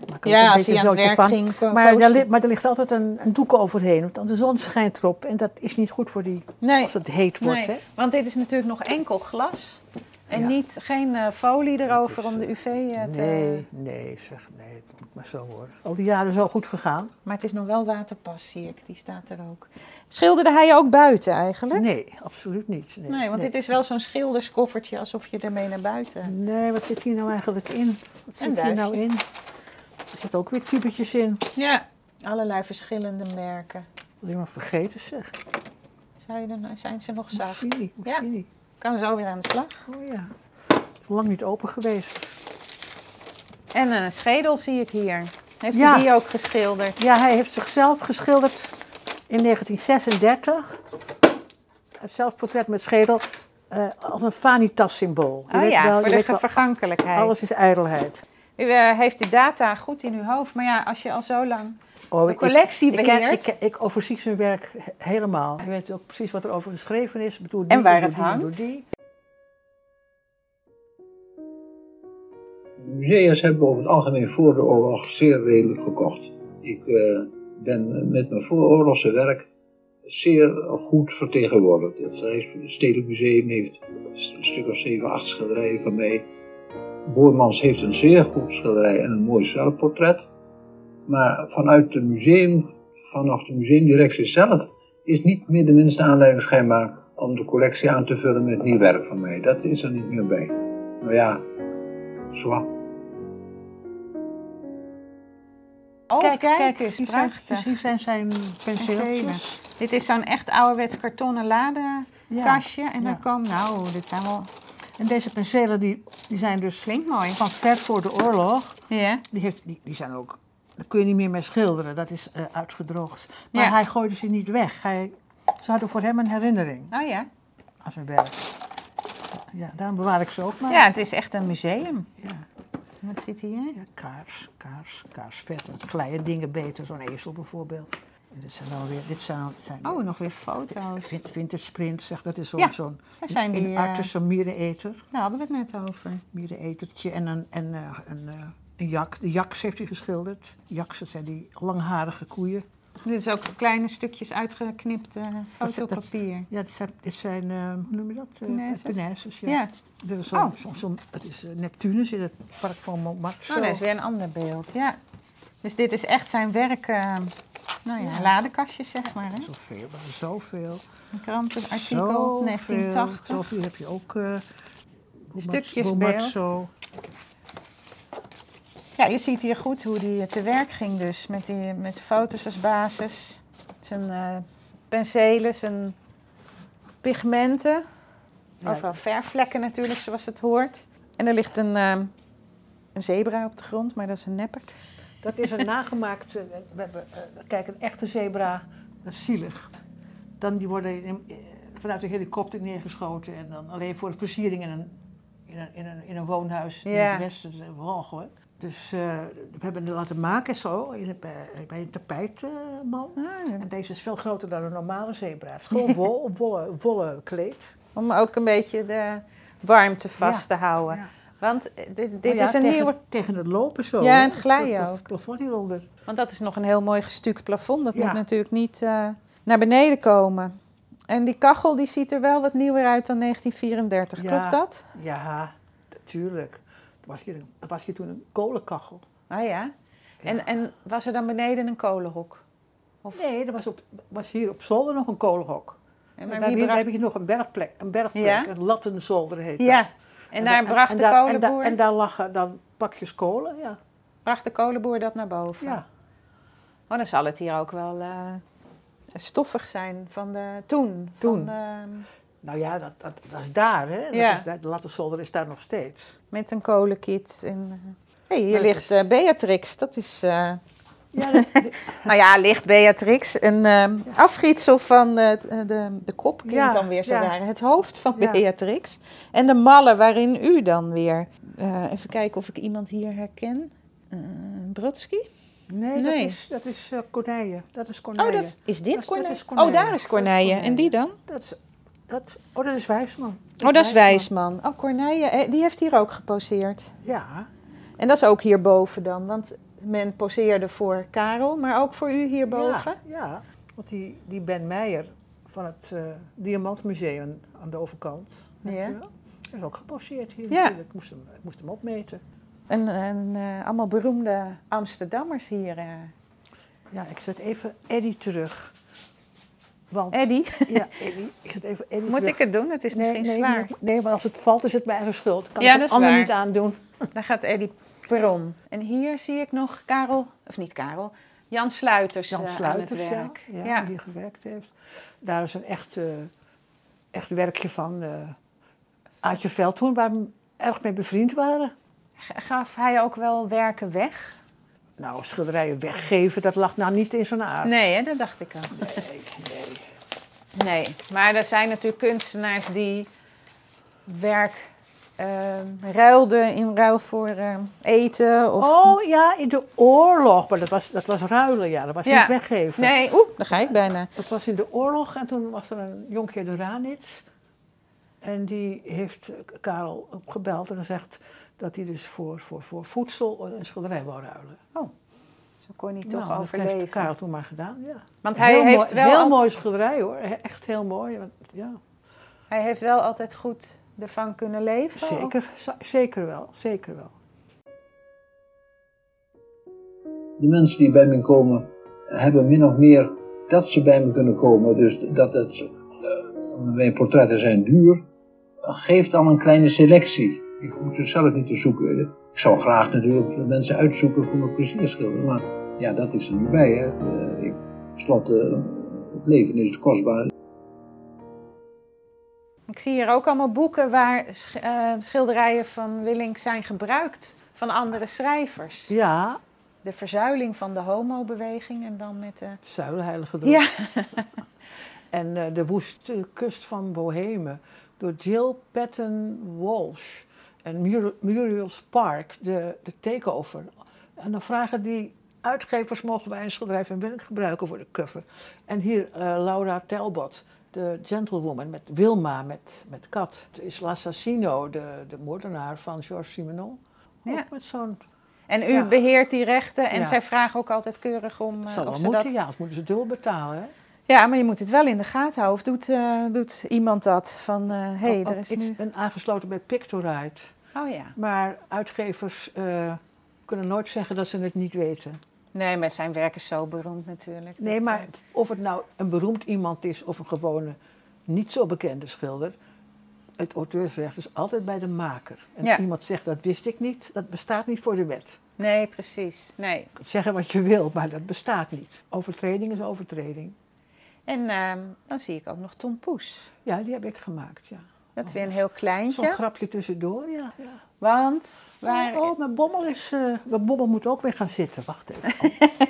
S1: Ik maak er ook
S3: Ja,
S1: een
S3: als hij
S1: beetje
S3: aan het
S1: zootje van.
S3: werk ging. ko-
S1: Maar, daar
S3: koos
S1: li-
S3: hij.
S1: maar er ligt altijd een, een doek overheen, want de zon schijnt erop en dat is niet goed voor die,
S3: nee,
S1: als het heet wordt.
S3: nee,
S1: Hè?
S3: want dit is natuurlijk nog enkel glas.
S5: En
S1: Ja.
S5: niet, geen eh, folie erover om
S1: eh,
S5: de UV
S3: eh,
S5: te...
S1: Nee, nee, zeg, nee, het moet maar zo worden. Al die jaren zo goed gegaan?
S3: Maar het is nog wel waterpas, zie ik. Die staat er ook. Schilderde hij ook buiten eigenlijk?
S1: Nee, absoluut niet. Nee,
S3: Nee, want
S1: nee.
S3: dit is wel zo'n schilderskoffertje, alsof je ermee naar buiten...
S1: Nee, wat zit hier nou eigenlijk in? Wat
S3: Een
S1: zit hier nou
S3: duifje.
S1: in? Er zitten ook weer tubetjes in.
S3: Ja, allerlei verschillende merken.
S1: Wat iemand vergeten zeg.
S3: Zou je er, zijn ze nog zacht?
S1: Moussini,
S3: Ja.
S1: Moussini.
S3: Kan zo weer aan de slag.
S1: Oh ja. Het is lang niet open geweest.
S5: En een schedel zie ik hier. Heeft
S1: Ja.
S5: hij die ook geschilderd?
S1: Ja, hij heeft zichzelf geschilderd in 1936. Een zelfportret met schedel eh, als een vanitas-symbool. Je
S5: Oh
S1: weet
S5: ja,
S1: wel-
S5: voor
S1: je
S5: de
S1: weet wel,
S5: vergankelijkheid.
S1: Alles is ijdelheid.
S5: U eh, heeft de data goed in uw hoofd, maar ja, als je al zo lang
S1: Oh,
S5: de
S1: ik- ik-
S5: collectie
S1: ik,
S5: beheert...
S1: ken- ik, ken- ik overzie zijn werk he- helemaal. Je weet ook precies wat er over geschreven is. Ik Bedoel, die
S3: En waar
S1: doet
S3: het
S1: die, doet
S3: hangt.
S1: die.
S4: Musea's hebben over het algemeen voor de oorlog zeer redelijk gekocht. Ik eh, ben met mijn vooroorlogse werk zeer goed vertegenwoordigd. Het Rijks- Stedelijk Museum heeft een stuk of zeven, acht schilderijen van mij. Boermans heeft een zeer goed schilderij en een mooi zelfportret. Maar vanuit het museum, vanaf de museumdirectie zelf, is niet meer de minste aanleiding schijnbaar om de collectie aan te vullen met nieuw werk van mij. Dat is er niet meer bij. Nou ja, zwak.
S3: Oh, kijk,
S1: hier
S3: eens,
S1: zijn-
S3: prachtig.
S1: hier zijn zijn
S5: Penselen.
S1: penseeltjes.
S3: Dit is zo'n echt ouderwets kartonnen ladenkastje.
S1: Ja.
S3: En
S1: ja.
S3: dan komen, nou, dit zijn wel,
S1: En deze penselen die, die zijn dus
S3: klinkt mooi.
S1: van ver voor de oorlog.
S3: Ja.
S1: Die, heeft, die, die zijn ook, daar kun je niet meer mee schilderen, dat is eh, uitgedroogd. Maar
S3: Ja.
S1: hij gooide ze niet weg. Hij, ze hadden voor hem een herinnering
S3: Oh ja.
S1: aan zijn werk. Ja, daarom bewaar ik ze ook maar.
S3: Ja, het is echt een museum.
S1: Ja,
S3: Wat zit hier?
S1: ja, kaars, kaars, kaarsvet. Want Glijden dingen beter, zo'n ezel bijvoorbeeld. En dit zijn dan weer, dit zijn, dan- zijn
S3: Oh, nog weer foto's.
S1: win- wintersprint, zeg, dat is zo'n
S3: Ja,
S1: zo'n
S3: Daar zijn die,
S1: een
S3: eh,
S1: artisan miereneter.
S3: daar hadden we het net over.
S1: Mierenetertje en een, en, eh, een, eh, een jak. De jaks heeft hij geschilderd. Jaks, dat zijn die langharige koeien.
S3: Dit is ook kleine stukjes uitgeknipt eh,
S1: dat-
S3: fotopapier.
S1: Ja, dit zijn, dit zijn eh, hoe noem je dat? Eh,
S3: Punaises?
S1: punaises, ja.
S3: Ja,
S1: Dit is zo'n-
S3: Oh.
S1: zo'n- zo'n- het is eh, Neptunus in het park van Montmartre.
S3: nou, dat is weer een ander beeld. Ja. Dus dit is echt zijn werk, eh, nou ja,
S1: Ja.
S3: ladenkastjes zeg maar. Hè?
S1: Zoveel, maar zoveel.
S3: Een krantenartikel,
S1: Zoveel.
S3: 1980.
S1: Zoveel heb je ook... eh
S3: Stukjesbeeld.
S1: zo.
S3: Ja, je ziet hier goed hoe die eh, te werk ging dus, met, die, met foto's als basis.
S5: zijn eh, penselen, zijn pigmenten.
S3: Overal verfvlekken natuurlijk, ehm, zoals het hoort. En er ligt een, eh, een zebra op de grond, maar dat is een neppert.
S1: Dat is een nagemaakt. eh, We hebben, eh, kijk, een echte zebra, dat is zielig. Dan die worden in- eh, vanuit de helikopter neergeschoten en dan alleen voor de versiering in een, in een, in een, in een woonhuis in
S3: Ja.
S1: het westen. Dat is echt walgelijk. Dus eh, we hebben het laten maken zo, in- bij, bij een tapijtman. en deze is veel groter dan een normale zebra. Het is gewoon wol, wollen, wollen kleed.
S3: Om ook een beetje de warmte vast
S1: Ja.
S3: te houden.
S1: Ja.
S3: Want eh, dit, dit
S1: Nou ja,
S3: is een
S1: tegen,
S3: nieuwe...
S1: Tegen het lopen zo.
S3: Ja,
S1: hè.
S3: en het glijden
S1: pla- pla-
S3: ook.
S1: plafond hieronder.
S3: Want dat is nog een heel mooi gestuukt plafond. Dat
S1: Ja.
S3: moet natuurlijk niet eh, naar beneden komen. En die kachel die ziet er wel wat nieuwer uit dan 1934.
S1: Ja.
S3: Klopt dat?
S1: Ja, natuurlijk. Er was hier, een- er was hier toen een kolenkachel.
S3: Ah ja. En, en was er dan beneden een kolenhok? Of-
S1: Nee, er was, op, was hier op zolder nog een kolenhok.
S3: En
S1: En
S3: maar
S1: daar heb-
S3: wie
S1: daar
S3: bracht...
S1: heb je nog een bergplek, een, bergplek,
S3: Ja?
S1: een lattenzolder heet
S3: Ja,
S1: dat.
S3: en daar
S1: da-
S3: bracht
S1: en
S3: de
S1: daar- en daar-
S3: kolenboer...
S1: En daar lagen dan pakjes kolen, ja.
S3: bracht de kolenboer dat naar boven.
S1: ja.
S3: Oh, dan zal het hier ook wel eh, stoffig zijn van de toen.
S1: Toen.
S3: Van, ehm,
S1: Nou ja, dat, dat, dat is daar, hè. Dat
S3: Ja.
S1: is daar- de lattenzolder is daar nog steeds.
S3: met een kolenkit. En, eh, hey, hier
S1: Maar het
S3: ligt eh, Beatrix. Dat is, eh,
S1: Ja, dat,
S3: nou ja, ligt Beatrix. Een ehm afgietsel van eh, de, de kop klinkt
S1: Ja,
S3: dan weer zo
S1: ja.
S3: waar. Het hoofd van
S1: Ja.
S3: Beatrix. En de mallen waarin u dan weer... eh, even kijken of ik iemand hier herken. Eh Brodsky?
S1: nee,
S3: Nee.
S1: dat is, dat is eh, Corneille. Dat is
S3: Oh,
S1: Corneille.
S3: dat is
S1: Dat
S3: dit
S1: is- dat
S3: Corneille?
S1: is Corneille.
S3: Oh, daar is Corneille. En die dan?
S1: Dat is, dat, oh, dat is Wijsman.
S3: Oh, dat is Wijsman. Oh, Corneille, eh, die heeft hier ook geposeerd.
S1: Ja,
S3: En dat is ook hierboven dan, want men poseerde voor Karel, maar ook voor u hierboven.
S1: Ja, ja. want die, die Ben Meijer van het eh, Diamantmuseum aan de overkant. weet
S3: Ja.
S1: je wel, Is ook geposeerd hier
S3: Ja.
S1: natuurlijk. Ik moest hem, ik moest hem opmeten.
S3: En, en eh, allemaal beroemde Amsterdammers hier. eh.
S1: Ja, ik zet even Eddie terug. Want,
S3: Eddy,
S1: Ja, Eddie. Ik zet even Eddie
S3: Eh. moet
S1: terug.
S3: ik het doen? Het is
S1: Nee,
S3: misschien
S1: nee,
S3: zwaar.
S1: maar- nee, maar als het valt is het mijn eigen schuld. Kan
S3: Ja,
S1: ik
S3: dat
S1: het
S3: is
S1: ander
S3: waar.
S1: niet aandoen.
S3: Daar gaat Eddy Peron. En hier zie ik nog Karel, of niet Karel, Jan Sluiters, eh,
S1: Jan Sluiters,
S3: aan het
S1: ja,
S3: werk.
S1: ja,
S3: Ja.
S1: die gewerkt heeft. Daar is een echt, eh, echt werkje van eh Aadje Veldhoorn, waar we erg mee bevriend waren.
S3: G- Gaf hij ook wel werken weg?
S1: Nou, schilderijen weggeven, dat lag nou niet in zijn aard.
S3: Nee, hè, dat dacht ik al.
S1: Nee, nee.
S3: Nee, maar er zijn natuurlijk kunstenaars die werk ruilden in ruil voor ehm, eten of...
S1: Oh ja, in de oorlog. Maar dat was, dat was ruilen, ja. Dat was
S3: Ja.
S1: niet weggeven.
S3: Nee, oeh, daar ga ik bijna.
S1: Dat was in de oorlog en toen was er een jonkheer de Ranits. En die heeft eh, Karel opgebeld en gezegd dat hij dus voor, voor, voor voedsel een schilderij wou ruilen.
S3: Zo kon hij
S1: Nou,
S3: toch
S1: dat heeft
S3: overleven.
S1: Karel toen maar gedaan, ja.
S3: Want hij
S1: Heel
S3: heeft,
S1: mooi-
S3: wel
S1: Heel
S3: al-
S1: mooi schilderij, hoor. He- Echt heel mooi. want- Ja,
S3: hij heeft wel altijd goed ervan kunnen leven. of-
S1: zeker, z- zeker wel, zeker wel.
S6: De mensen die bij me komen, hebben min of meer dat ze bij me kunnen komen. Dus dat het, eh, mijn portretten zijn duur, geeft al een kleine selectie. Ik hoef er zelf niet te zoeken. Ik zou graag natuurlijk de mensen uitzoeken voor mijn plezierschilder, maar ja, dat is er nu bij. Hè. Eh, Ik, slot, eh, het leven is kostbaar.
S3: Ik zie hier ook allemaal boeken waar sch- eh, schilderijen van Willink zijn gebruikt. Van andere schrijvers.
S1: Ja,
S3: De verzuiling van de homobeweging en dan met de...
S1: Zuilenheilige Droom.
S3: Ja,
S1: En eh, de woeste kust van Bohemen door Jill Patton Walsh en Mur- Muriel Spark, de, de takeover. En dan vragen die uitgevers, mogen wij een schilderij van Willink gebruiken voor de cover? En hier eh, Laura Talbot, de gentlewoman met Wilma, met, met Kat. Het is L'Assassino, de, de moordenaar van Georges Simenon.
S3: Ja.
S1: Ook met zo'n...
S3: en u
S1: Ja.
S3: beheert die rechten en
S1: Ja.
S3: zij vragen ook altijd keurig om eh,
S1: Zal wel
S3: of ze
S1: moeten,
S3: dat
S1: ja, anders moeten ze dubbel betalen, hè?
S3: Ja, maar je moet het wel in de gaten houden. Of doet, eh, doet iemand dat? Van, hé, hey,
S1: Ook-
S3: er
S1: ook-
S3: is
S1: ik
S3: nu...
S1: ben aangesloten bij Pictorite.
S3: Oh ja.
S1: Maar uitgevers eh, kunnen nooit zeggen dat ze het niet weten.
S3: Nee, maar zijn werk is zo beroemd natuurlijk.
S1: Nee,
S3: Dat,
S1: maar
S3: eh,
S1: of het nou een beroemd iemand is of een gewone, niet zo bekende schilder. Het auteursrecht is altijd bij de maker. En
S3: Ja.
S1: iemand zegt dat wist ik niet, dat bestaat niet voor de wet.
S3: Nee, precies. Nee.
S1: Zeggen wat je wil, maar dat bestaat niet. Overtreding is overtreding.
S3: En ehm, dan zie ik ook nog Tom Poes.
S1: Ja, die heb ik gemaakt, ja.
S3: Oh, Dat is weer een heel
S1: Zo'n
S3: kleintje.
S1: grapje tussendoor, ja.
S3: Want, waar,
S1: Oh, mijn bommel is... eh, mijn bommel moet ook weer gaan zitten. Wacht even. Mijn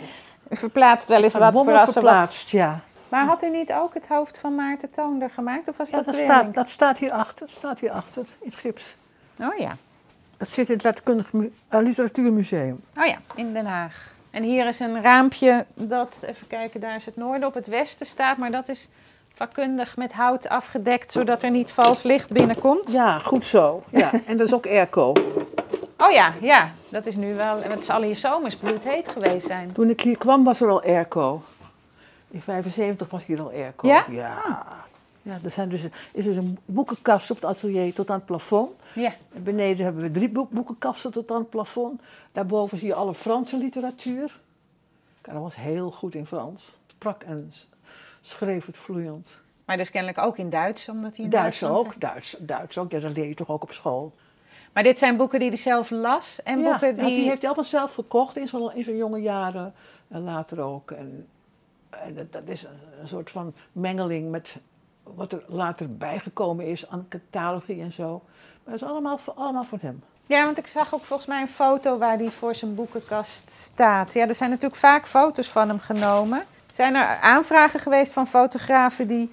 S3: u verplaatst wel eens wat
S1: bommel
S3: voor als er wat...
S1: verplaatst, ja.
S3: Maar had u niet ook het hoofd van Maarten Toonder gemaakt? Of was
S1: ja
S3: dat
S1: dat,
S3: weer
S1: staat, dat staat hierachter. Dat staat hierachter in het gips.
S3: Oh ja.
S1: Dat zit in het Letterkundig Mu- eh, Literatuurmuseum.
S3: Oh ja, in Den Haag. En hier is een raampje dat, even kijken, daar is het noorden op het westen staat, maar dat is vakkundig met hout afgedekt, zodat er niet vals licht binnenkomt.
S1: Ja, goed zo. Ja. En dat is ook airco.
S3: Oh ja, ja, dat is nu wel, het zal hier zomers bloedheet geweest zijn.
S1: Toen ik hier kwam was er al airco. In 75 was hier al airco.
S3: Ja?
S1: Ja. Ah. Ja, er zijn dus, is dus een boekenkast op het atelier tot aan het plafond.
S3: Ja,
S1: En beneden hebben we drie boek- boekenkasten tot aan het plafond. Daarboven zie je alle Franse literatuur. Karel was heel goed in Frans. Sprak en s- schreef het vloeiend.
S3: maar dus kennelijk ook in Duits, omdat hij in
S1: Duits
S3: Duitsland...
S1: ook, Duits, Duits ook. Ja, dat leer je toch ook op school.
S3: Maar dit zijn boeken die hij zelf las en
S1: ja,
S3: boeken
S1: ja,
S3: die...
S1: heeft hij allemaal zelf gekocht in zijn, in zijn jonge jaren en later ook. En, en dat, dat is een, een soort van mengeling met wat er later bijgekomen is aan catalogie en zo. Maar dat is allemaal, van- allemaal van hem.
S3: Ja, want ik zag ook volgens mij een foto waar hij voor zijn boekenkast staat. Ja, er zijn natuurlijk vaak foto's van hem genomen. Zijn er aanvragen geweest van fotografen die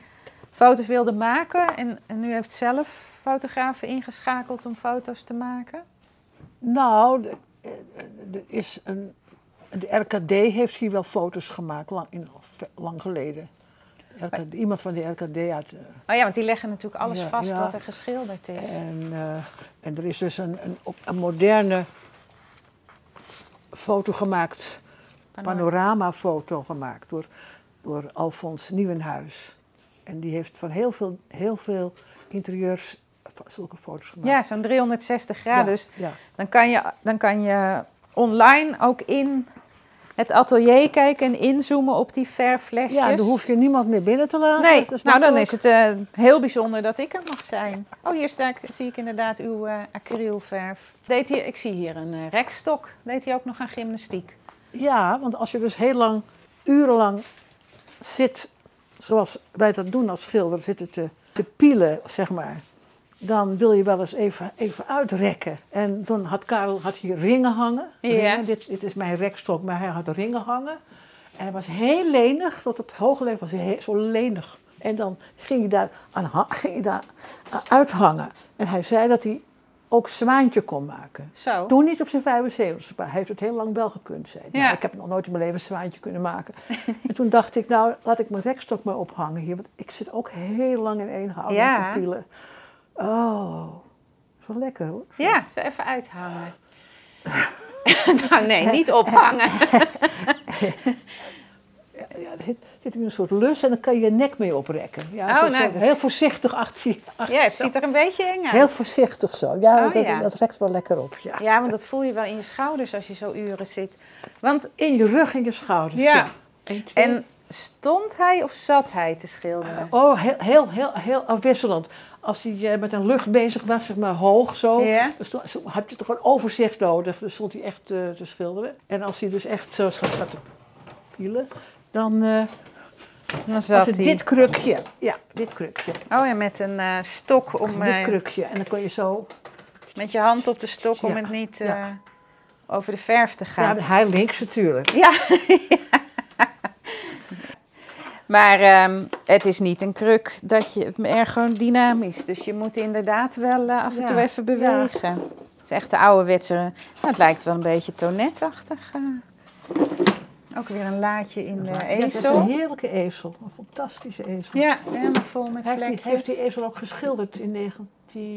S3: foto's wilden maken? En, en nu heeft zelf fotografen ingeschakeld om foto's te maken?
S1: Nou, de- eh, eh, er is een. De RKD heeft hier wel foto's gemaakt, lang, in, lang geleden. RKD, iemand van de RKD uit. eh,
S3: Oh ja, want die leggen natuurlijk alles
S1: Ja,
S3: vast
S1: ja.
S3: wat er geschilderd is.
S1: En, eh, en er is dus een, een, op- een moderne foto gemaakt, panoramafoto gemaakt door, door Alfons Nieuwenhuis. En die heeft van heel veel, heel veel interieurs van zulke foto's gemaakt.
S3: Ja, zo'n 360 graden.
S1: Ja,
S3: Dus
S1: ja.
S3: dan kan, je, dan kan je online ook in het atelier kijken en inzoomen op die verflesjes.
S1: Ja, dan hoef je niemand meer binnen te laten.
S3: Nee,
S1: Dat
S3: nou
S1: mag
S3: dan
S1: ook.
S3: is het eh, heel bijzonder dat ik er mag zijn. Oh, hier sta ik, zie ik inderdaad uw eh, acrylverf. Deed hij, ik zie hier een eh, rekstok. Deed hij ook nog aan gymnastiek?
S1: Ja, want als je dus heel lang, urenlang zit, zoals wij dat doen als schilder, zitten te, te pielen, zeg maar. Dan wil je wel eens even, even uitrekken. En dan had Karel had hier ringen hangen.
S3: Ja.
S1: Ringen, dit, dit is mijn rekstok, maar hij had ringen hangen. En hij was heel lenig, tot op hoge leeftijd was hij heel, zo lenig. En dan ging je daar, aan, ha- ging je daar aan uithangen. En hij zei dat hij ook zwaantje kon maken.
S3: Zo.
S1: Toen niet op zijn 75 maar hij heeft het heel lang wel gekund, zei hij.
S3: Ja.
S1: Nou, ik heb nog nooit in mijn leven een zwaantje kunnen maken. en toen dacht ik, nou, laat ik mijn rekstok maar ophangen hier. Want ik zit ook heel lang in één houding
S3: Ja.
S1: te pielen. Oh, dat is wel lekker hoor.
S3: Ja, zo even uithangen. nou nee, niet ophangen.
S1: Ja, ja, er zit, zit in een soort lus en dan kan je je nek mee oprekken. Ja,
S3: Oh,
S1: zo-
S3: nou,
S1: zo
S3: dat-
S1: Heel voorzichtig actie.
S3: Ja, het ziet er een beetje eng uit.
S1: Heel voorzichtig zo. Ja,
S3: Oh,
S1: dat,
S3: ja.
S1: dat rekt wel lekker op. Ja.
S3: Ja, want dat voel je wel in je schouders als je zo uren zit. Want,
S1: In je rug en je schouders.
S3: ja.
S1: Eén, twee,
S3: En stond hij of zat hij te schilderen?
S1: Oh, heel, heel, heel, heel afwisselend. Als hij eh, met een lucht bezig was, zeg maar hoog zo,
S3: Ja.
S1: dan stond- zo- had je toch een overzicht nodig. Dus stond hij echt eh, te schilderen. En als hij dus echt zo gaat gaat te pielen, dan eh,
S3: Dan
S1: was
S3: zat
S1: het
S3: hij.
S1: dit krukje. Ja, dit krukje.
S3: Oh ja, met een eh, stok om...
S1: Dit
S3: eh,
S1: krukje. En dan kon je zo...
S3: Met je hand op de stok om
S1: Ja,
S3: het niet eh,
S1: ja.
S3: over de verf te
S1: Ja,
S3: gaan.
S1: hij links natuurlijk.
S3: Ja. maar ehm, het is niet een kruk dat je ergodynamisch. Dus je moet inderdaad wel eh, af en
S1: Ja,
S3: toe even bewegen. Het is echt de ouderwetse. Nou, het lijkt wel een beetje tonnetachtig. eh. Ook weer een laadje in de
S1: Ja, dat is een
S3: ezel.
S1: heerlijke ezel. Een fantastische ezel.
S3: Ja, helemaal vol met
S1: Hij heeft,
S3: vlekjes.
S1: die, heeft die ezel ook geschilderd in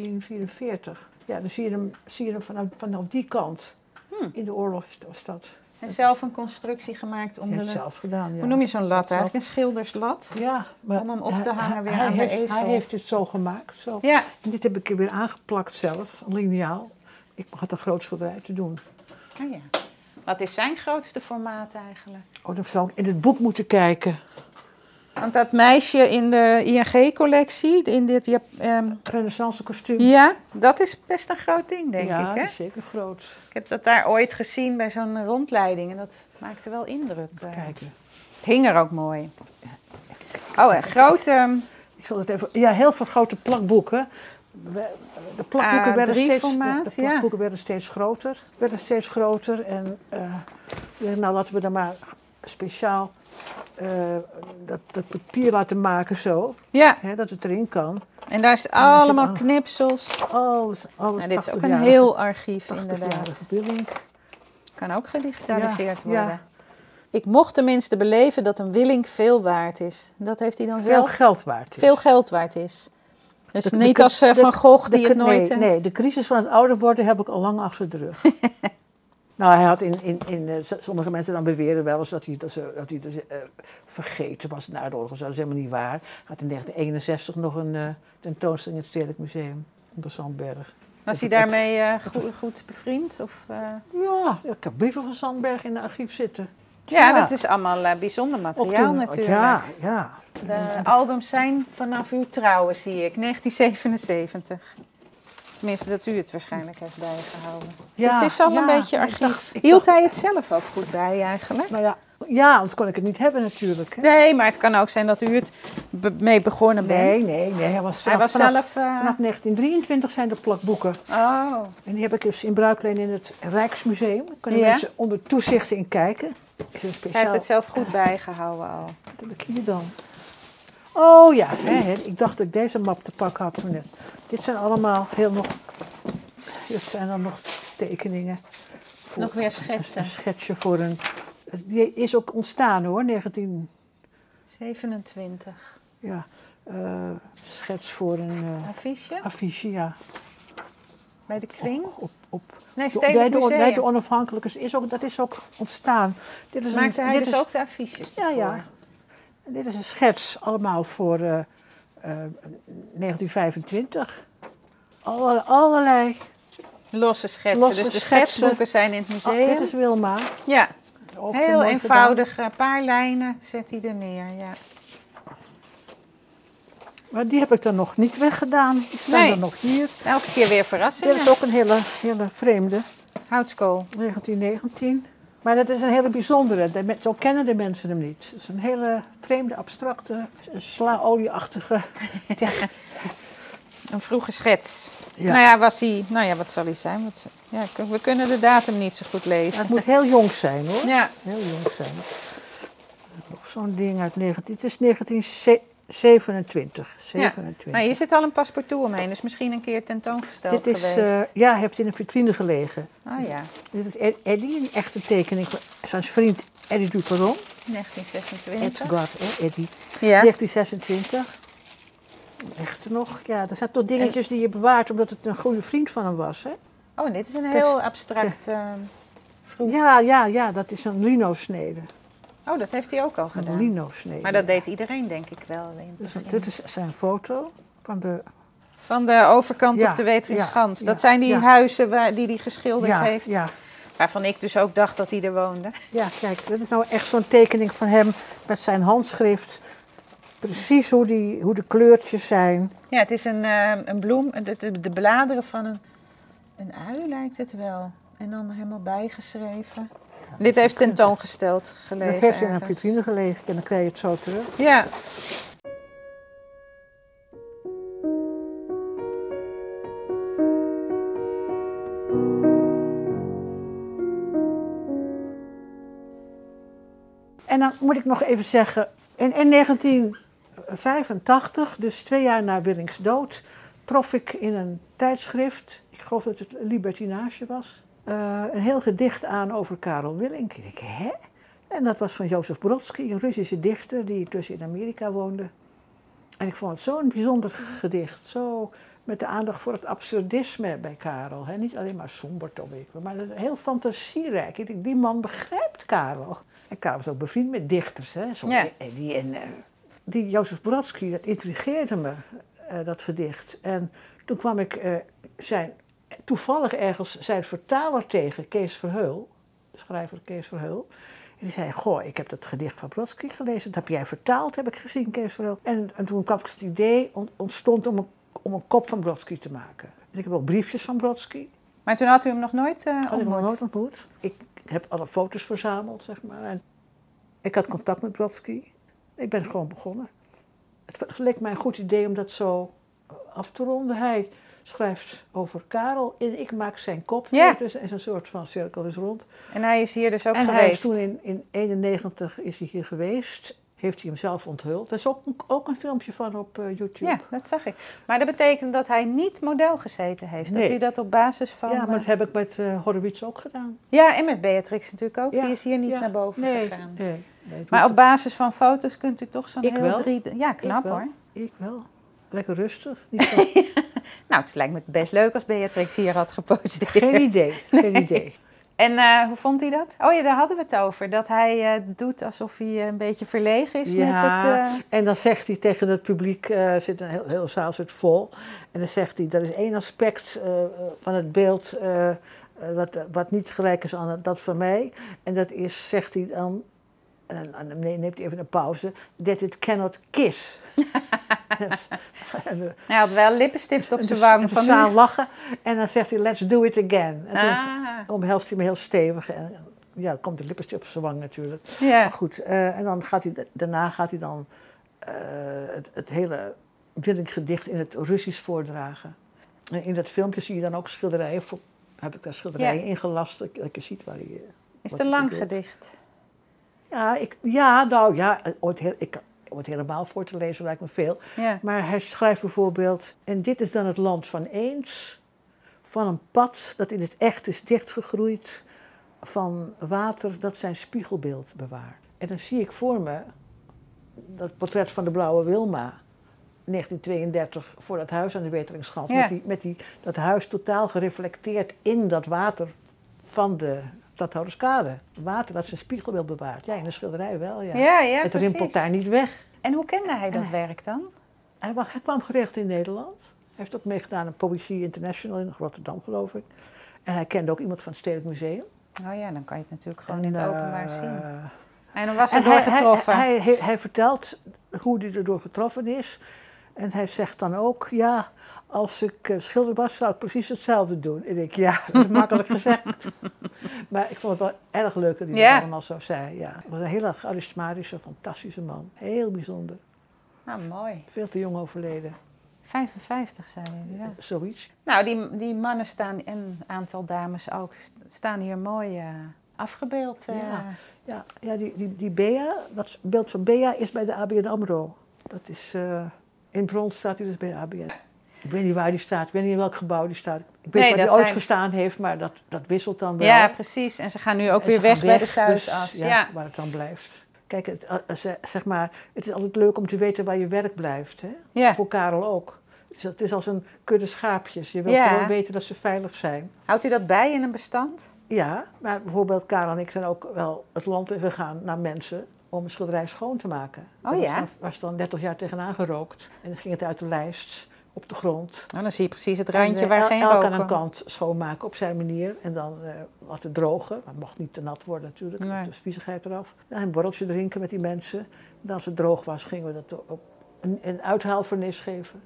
S1: 1944. Ja, dan zie je hem, zie je hem vanaf, vanaf die kant.
S3: Hm.
S1: In de oorlog is- was dat.
S3: En zelf een constructie gemaakt om
S1: Hij
S3: de...
S1: heeft het zelf gedaan, ja.
S3: Hoe noem je zo'n lat eigenlijk? Een schilderslat?
S1: Ja, maar
S3: Om hem op te
S1: hij-
S3: hangen weer
S1: hij
S3: aan de
S1: heeft,
S3: ezel.
S1: Hij heeft het zo gemaakt. Zo.
S3: Ja,
S1: En dit heb ik er weer aangeplakt zelf, een lineaal. Ik had een groot schilderij te doen.
S3: Oh ja. Wat is zijn grootste formaat eigenlijk?
S1: Oh, dan zou ik in het boek moeten kijken.
S3: Want dat meisje in de ING-collectie, in dit... Jap- ehm,
S1: Renaissance kostuum.
S3: ja, dat is best een groot ding, denk
S1: ja,
S3: ik. Hè?
S1: dat is zeker groot.
S3: Ik heb dat daar ooit gezien bij zo'n rondleiding en dat maakte wel indruk. eh.
S1: Kijken.
S3: Het hing er ook mooi. Oh, een grote...
S1: Ik zal het even. Ja, heel veel grote plakboeken. we- de plakboeken, werden
S3: A3
S1: steeds,
S3: formaat,
S1: de
S3: ja.
S1: plakboeken werden steeds groter. Werden steeds groter en eh, ik dacht, nou laten we dan maar speciaal eh, dat, dat papier laten maken zo,
S3: Ja,
S1: hè, dat het erin kan.
S3: en daar is
S1: daar zit
S3: allemaal
S1: al-
S3: knipsels.
S1: Alles, alles
S3: Nou, dit is ook een
S1: 80-jarige
S3: heel archief,
S1: 80-jarige
S3: inderdaad.
S1: Willink.
S3: Kan ook gedigitaliseerd
S1: Ja, ja.
S3: worden. Ik mocht tenminste beleven dat een Willink veel waard is. Dat heeft hij dan
S1: Veel
S3: zelf
S1: geld waard. is.
S3: veel geld waard is. Dus
S1: De- de
S3: niet
S1: kun-
S3: als eh,
S1: de-
S3: Van Gogh
S1: De
S3: die het
S1: cri-
S3: nooit...
S1: nee,
S3: eh,
S1: nee, de crisis van het ouder worden heb ik al lang achter de rug. nou, hij had in, in, in eh, s- sommige mensen dan beweren wel eens dat hij, dat ze- dat hij dus, eh, vergeten was na de oorlog. Dat is helemaal niet waar. Hij had in 1961 nog een eh, tentoonstelling in het Stedelijk Museum onder Zandberg.
S3: Was hij
S1: het-
S3: daarmee eh, goed, goed bevriend? Of, eh,
S1: Ja, ik heb brieven van Zandberg in het archief zitten.
S3: ja, dat is allemaal eh, bijzonder materiaal
S1: Opdoen-
S3: natuurlijk.
S1: Ja, ja.
S3: De albums zijn vanaf uw trouwen, zie ik, 1977. Tenminste, dat u het waarschijnlijk heeft bijgehouden.
S1: Ja,
S3: het is al
S1: ja,
S3: een beetje
S1: ik
S3: archief.
S1: dacht- ik
S3: Hield hij het zelf ook goed bij eigenlijk?
S1: Nou ja, ja, anders kon ik het niet hebben natuurlijk. hè.
S3: Nee, maar het kan ook zijn dat u het be- mee begonnen bent.
S1: Nee, nee, nee. Hij was,
S3: Hij
S1: vanaf-
S3: was
S1: vanaf-
S3: zelf... eh,
S1: Vanaf 1923 zijn er plakboeken.
S3: Oh,
S1: En die heb ik dus in Bruikleen in het Rijksmuseum. Daar kunnen
S3: Ja.
S1: mensen onder toezicht in kijken. Is een
S3: hij heeft
S1: speciaal...
S3: het zelf goed bijgehouden al.
S1: Wat heb ik hier dan? Oh ja, hè, hè. ik dacht dat ik deze map te pak had. Maar nee. Dit zijn allemaal heel nog... Dit zijn dan nog tekeningen. Voor
S3: Nog weer
S1: een,
S3: schetsen.
S1: een schetsje voor een... Die is ook ontstaan hoor, 19...
S3: 27.
S1: Ja, eh, schets voor een eh,
S3: Affiche?
S1: affiche, ja.
S3: Bij de kring?
S1: Op, op,
S3: Nee,
S1: De- Bij
S3: Stedelijk
S1: de, bij de
S3: Museum.
S1: onafhankelijkers is ook, dat is ook ontstaan. Dit is
S3: Maakte
S1: een,
S3: hij
S1: dit
S3: dus
S1: is,
S3: ook de affiches
S1: Ja, ja.
S3: ervoor?
S1: Dit is een schets allemaal voor eh, eh, 1925. Alle- allerlei.
S3: Losse schetsen.
S1: Losse
S3: dus de
S1: schetsen.
S3: schetsboeken zijn in het
S1: Ah, dit
S3: museum.
S1: is Wilma.
S3: Ja,
S1: Op de
S3: heel
S1: Notre
S3: eenvoudig. Een paar lijnen zet hij er neer. Ja.
S1: Dame. Maar die heb ik dan nog niet weggedaan. Die staan
S3: Nee.
S1: dan nog hier.
S3: Elke keer weer
S1: Dit
S3: verrassingen.
S1: is ook een hele, hele vreemde,
S3: Houtskool.
S1: 1919. Maar dat is een hele bijzondere. De men- Zo kennen de mensen hem niet. Het is een hele vreemde, abstracte, slaolieachtige
S3: Een vroege schets.
S1: Ja.
S3: Nou ja, was hij... Nou ja, wat zal hij zijn? Wat, ja, k- we kunnen de datum niet zo goed
S1: Ja, het
S3: lezen.
S1: moet heel jong zijn hoor.
S3: Ja,
S1: Heel jong zijn. Nog zo'n ding uit 19... Het is 1927.
S3: Ja,
S1: 27.
S3: maar hier zit al een paspoortje omheen. Dus misschien een keer tentoongesteld
S1: Dit is, eh,
S3: geweest.
S1: ja, hij heeft in een vitrine gelegen.
S3: Ah ja,
S1: Dit is Ed- Eddie, een echte tekening van zijn vriend Eddie Duperon.
S3: 1926.
S1: Edgar, hè, Eddie.
S3: Ja.
S1: 1926. Ligt er nog. Ja, er zijn toch
S3: Eh.
S1: dingetjes die je bewaart omdat het een goede vriend van hem was. Hè?
S3: Oh, dit is een
S1: is-
S3: heel abstract... ehm, vroeg.
S1: Ja, ja, ja, dat is een lino-snede.
S3: Oh, dat heeft hij ook al
S1: Een
S3: gedaan.
S1: lino-snede.
S3: Maar dat deed iedereen denk ik wel. In het
S1: Dus
S3: begin.
S1: dit is zijn foto van de
S3: Van de overkant
S1: Ja,
S3: op de Weteringschans.
S1: ja,
S3: dat
S1: ja,
S3: zijn die
S1: ja.
S3: huizen waar, die hij geschilderd
S1: ja,
S3: heeft.
S1: Ja,
S3: Waarvan ik dus ook dacht dat hij er woonde.
S1: ja, kijk, dit is nou echt zo'n tekening van hem met zijn handschrift. Precies hoe, die, hoe de kleurtjes zijn.
S3: Ja, het is een, eh, een bloem. De, de, de bladeren van een, een ui lijkt het wel. En dan helemaal bijgeschreven. Dit heeft tentoongesteld gelegen.
S1: dat heeft in een
S3: ergens.
S1: vitrine gelegen en dan krijg je het zo terug.
S3: Ja.
S1: En dan moet ik nog even zeggen, in, in 1985, dus twee jaar na Willings dood, trof ik in een tijdschrift, ik geloof dat het Libertinage was, eh, een heel gedicht aan over Karel Willink. Ik denk, hè? En dat was van Jozef Brodsky, een Russische dichter die tussen in Amerika woonde. En ik vond het zo'n bijzonder gedicht, zo met de aandacht voor het absurdisme bij Karel. Hè? Niet alleen maar somber, toch, weet ik wel, maar heel fantasierijk. Ik denk, die man begrijpt Karel. En Karel was ook bevriend met dichters, hè? Zo,
S3: Ja.
S1: en die, en, eh, die Jozef Brodsky, dat intrigeerde me, eh, dat gedicht. En toen kwam ik eh, zijn, toevallig ergens zijn vertaler tegen, Kees Verheul, schrijver Kees Verheul. En die zei, goh, ik heb dat gedicht van Brodsky gelezen. Dat heb jij vertaald, heb ik gezien, Kees Verheul. En, en toen kwam ik het idee, on- ontstond om een, om een kop van Brodsky te maken. En ik heb ook briefjes van Brodsky.
S3: Maar toen had u hem nog nooit eh,
S1: Had ik nog nooit
S3: ontmoet.
S1: ontmoet. Ik heb alle foto's verzameld, zeg maar. En ik had contact met Brodsky. Ik ben gewoon begonnen. Het, het leek mij een goed idee om dat zo af eh, te ronden. Hij schrijft over Karel en ik maak zijn kop.
S3: Ja.
S1: Dus er is een soort van cirkel is rond.
S3: En hij is hier dus ook
S1: en hij is
S3: geweest.
S1: toen in, in 91 is hij hier geweest. Heeft hij hem zelf onthuld. Er is ook een, ook een filmpje van op eh, YouTube.
S3: Ja, dat zag ik. Maar dat betekent dat hij niet model gezeten heeft.
S1: Nee.
S3: Dat u dat op basis van...
S1: Ja, maar dat
S3: eh,
S1: heb ik met eh Horowitz ook gedaan.
S3: ja, en met Beatrix natuurlijk ook.
S1: Ja,
S3: Die is hier niet
S1: ja.
S3: naar boven
S1: Nee,
S3: gegaan.
S1: nee, nee, ik
S3: Maar
S1: doe
S3: op basis van foto's kunt u toch zo'n
S1: Ik
S3: heel
S1: wel.
S3: drie... Ja, knap
S1: wel.
S3: hoor.
S1: het- Ik wel. Lekker rustig. Niet zo-
S3: Nou, het lijkt me best leuk als Beatrix hier had geposeerd.
S1: geen idee. Geen idee.
S3: En eh, hoe vond hij dat? Oh ja, daar hadden we het over. Dat hij eh, doet alsof hij eh, een beetje verlegen is met
S1: Ja.
S3: het... eh,
S1: En dan zegt hij tegen het publiek, eh zit een heel, heel zaal zit vol. En dan zegt hij, dat is één aspect eh, eh, van het beeld eh, eh, wat, wat niet gelijk is aan dat van mij. En dat is, zegt hij dan, en dan dan neemt hij even een pauze, that it cannot kiss. en de,
S3: Hij had wel lippenstift op
S1: en
S3: zijn
S1: de- en
S3: wang.
S1: de
S3: Van
S1: zaal
S3: nu.
S1: lachen. En dan zegt hij, let's do it again. En
S3: Ah,
S1: toen omhelst hij me heel stevig. En ja, dan komt de lippenstift op zijn wang natuurlijk.
S3: ja.
S1: Maar goed, eh, en dan gaat hij, da- daarna gaat hij dan eh, het, het hele Willink-gedicht in het Russisch voordragen. En in dat filmpje zie je dan ook schilderijen, voor, heb ik daar schilderijen ingelast, dat, dat je ziet waar hij... eh,
S3: Is
S1: Wat
S3: het een
S1: hij
S3: lang
S1: bedoelt.
S3: gedicht?
S1: Ja, ik, ja nou ja, eh, ooit heel, ik, om het helemaal voor te lezen lijkt me veel.
S3: Ja.
S1: Maar hij schrijft bijvoorbeeld, en dit is dan het land van eens, van een pad dat in het echt is dichtgegroeid, van water dat zijn spiegelbeeld bewaart. En dan zie ik voor me dat portret van de blauwe Wilma, 1932, voor dat huis aan de Weteringsgracht,
S3: Ja.
S1: met, die, met die, dat huis totaal gereflecteerd in dat water van de Stadhouderskade. Water dat zijn spiegelbeeld bewaart. Ja, in de schilderij wel, ja.
S3: Ja, ja,
S1: het
S3: precies.
S1: rimpelt daar niet weg.
S3: En hoe kende hij dat werk dan?
S1: Hij, wa- hij kwam gerecht in Nederland. Hij heeft ook meegedaan aan Poëzie International in Rotterdam, geloof ik. En hij kende ook iemand van het Stedelijk Museum.
S3: Oh ja, dan kan je het natuurlijk gewoon
S1: En,
S3: in het
S1: eh,
S3: openbaar zien. En dan was
S1: en
S3: er
S1: hij,
S3: door
S1: hij,
S3: getroffen.
S1: hij, hij, hij vertelt hoe hij erdoor getroffen is. En hij zegt dan ook, ja, als ik eh, schilder was, zou ik precies hetzelfde doen. En ik, ja, dat is makkelijk gezegd. Maar ik vond het wel erg leuk dat hij
S3: Ja.
S1: dat allemaal zo zei. Ja. Hij was een hele charismatische, fantastische man. Heel bijzonder.
S3: Nou, mooi.
S1: Veel te jong overleden.
S3: 55 zei je, ja.
S1: Zoiets.
S3: Nou, die, die mannen staan en een aantal dames ook st- staan hier mooi eh, afgebeeld. eh.
S1: Ja. Ja, ja die, die, die Bea, dat beeld van Bea is bij de ABN AMRO. Dat is, eh, in brons staat hij dus bij de ABN. Ik weet niet waar die staat, ik weet niet in welk gebouw die staat. Ik weet
S3: Nee,
S1: waar die
S3: dat
S1: ooit
S3: zijn-
S1: gestaan heeft, maar dat, dat wisselt dan wel.
S3: Ja, precies. En ze gaan nu ook
S1: En ze
S3: weer weg,
S1: gaan
S3: bij de
S1: dus,
S3: Zuidas.
S1: ja,
S3: ja.
S1: waar het dan blijft. Kijk, het, eh, eh, ze- zeg maar, het is altijd leuk om te weten waar je werk blijft. Hè?
S3: Ja.
S1: Voor Karel ook. Het is, het is als een kudde schaapjes. Je wilt
S3: Ja.
S1: gewoon weten dat ze veilig zijn.
S3: Houdt u dat bij in een bestand?
S1: Ja, maar bijvoorbeeld Karel en ik zijn ook wel het land ingegaan naar mensen om een schilderij schoon te maken.
S3: Oh
S1: Daar
S3: ja?
S1: was dan- was dan 30 jaar tegenaan gerookt en dan ging het uit de lijst op de grond.
S3: Nou, dan zie je precies het randje
S1: En, eh,
S3: waar
S1: el-
S3: geen
S1: elk
S3: rook
S1: aan een
S3: kwam.
S1: kant schoonmaken op zijn manier en dan eh laten drogen. Maar het mocht niet te nat worden natuurlijk,
S3: Nee.
S1: dus viezigheid eraf. Nou, een borreltje drinken met die mensen. En als het droog was, gingen we dat op een, een uithaalvernis geven.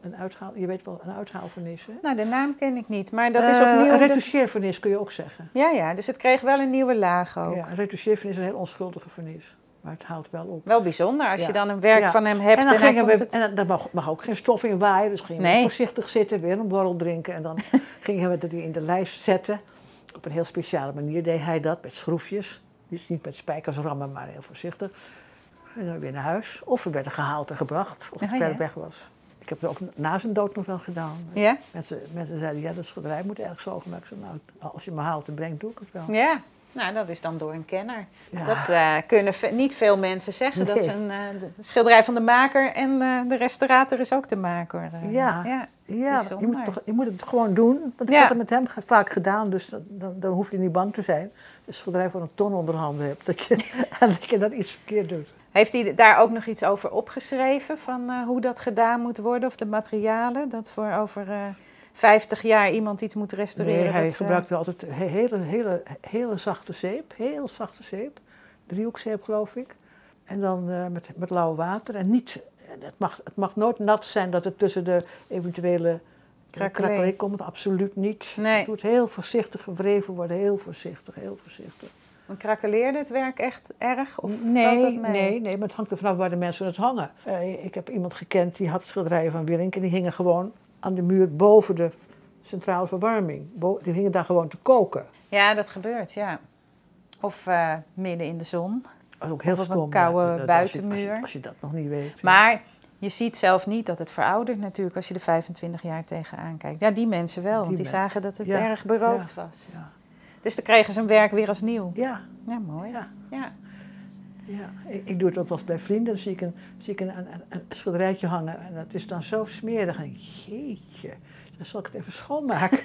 S1: Een uithaal, je weet wel, een uithaalvernis hè?
S3: Nou, de naam ken ik niet, maar dat is
S1: Eh,
S3: opnieuw...
S1: Een
S3: de-
S1: retoucheervernis kun je ook zeggen.
S3: Ja, ja, dus het kreeg wel een nieuwe laag ook.
S1: Ja, retoucheervernis is een heel onschuldige vernis. Maar het haalt wel op.
S3: Wel bijzonder als
S1: Ja.
S3: je dan een werk
S1: Ja.
S3: van hem hebt en,
S1: dan
S3: hij
S1: gingen
S3: komt
S1: we,
S3: het...
S1: en dan- daar mag, mag ook geen stof in waaien. Dus gingen
S3: Nee.
S1: we voorzichtig zitten, weer een borrel drinken. En dan gingen we dat weer in de lijst zetten. Op een heel speciale manier deed hij dat, met schroefjes. Dus niet met spijkers rammen, maar heel voorzichtig. En dan weer naar huis. Of we werden gehaald en gebracht, of het
S3: Oh,
S1: ver
S3: ja.
S1: weg was. Ik heb het ook na zijn dood nog wel gedaan.
S3: Ja?
S1: Mensen, mensen zeiden, ja, dat schilderij moet erg zo gemaakt zijn. Nou, als je me haalt en brengt, doe ik het wel.
S3: Ja. Nou, dat is dan door een kenner.
S1: Ja.
S3: Dat eh, kunnen ve- niet veel mensen zeggen. Dat
S1: Nee.
S3: is een eh, de- de schilderij van de maker en eh, de restaurator is ook de maker. eh.
S1: Ja.
S3: ja.
S1: Ja, je
S3: Bijzonder.
S1: moet, toch, je moet het gewoon doen. Want ik
S3: Ja.
S1: heb het met hem ge- vaak gedaan, dus dan, dan, dan hoef je niet bang te zijn. Dus schilderij voor een ton onder handen hebt, dat je, en dat je dat iets verkeerd doet.
S3: Heeft hij daar ook nog iets over opgeschreven? Van eh, hoe dat gedaan moet worden of de materialen? Dat voor over eh 50 jaar iemand iets moet restaureren.
S1: Nee, hij
S3: dat, eh,
S1: gebruikte altijd he- hele, hele, hele zachte zeep, heel zachte zeep. Driehoekzeep, geloof ik. En dan eh, met, met lauw water. En niet, het mag, het mag nooit nat zijn dat het tussen de eventuele
S3: Krakelé.
S1: krakelé komt. Absoluut niet.
S3: Nee.
S1: Het moet heel voorzichtig gewreven worden, heel voorzichtig, heel voorzichtig.
S3: dan krakeleerde het werk echt erg? Of valt
S1: Nee,
S3: dat mee?
S1: nee, nee, maar het hangt er vanaf waar de mensen het hangen. Eh, ik heb iemand gekend die had schilderijen van Willink en die hingen gewoon aan de muur boven de centrale verwarming. Bo- die hingen daar gewoon te koken.
S3: Ja, dat gebeurt, ja. Of eh, midden in de zon.
S1: Dat is ook heel
S3: Of op een
S1: stom,
S3: koude
S1: maar dat- als je- Als je,
S3: buitenmuur.
S1: als je dat nog niet weet. ja.
S3: Maar je ziet zelf niet dat het veroudert natuurlijk als je er 25 jaar tegenaan kijkt. Ja, die mensen wel, want die
S1: mensen.
S3: zagen dat het
S1: Ja,
S3: erg berookt was.
S1: ja.
S3: Dus dan kregen ze hun werk weer als nieuw.
S1: Ja,
S3: Ja, mooi.
S1: Ja.
S3: ja.
S1: ja. Ik, ik doe het ook wel eens bij vrienden. Dan zie ik een, zie ik een, een, een- een schilderijtje hangen. En dat is dan zo smerig. En ik, jeetje, dan zal ik het even schoonmaken.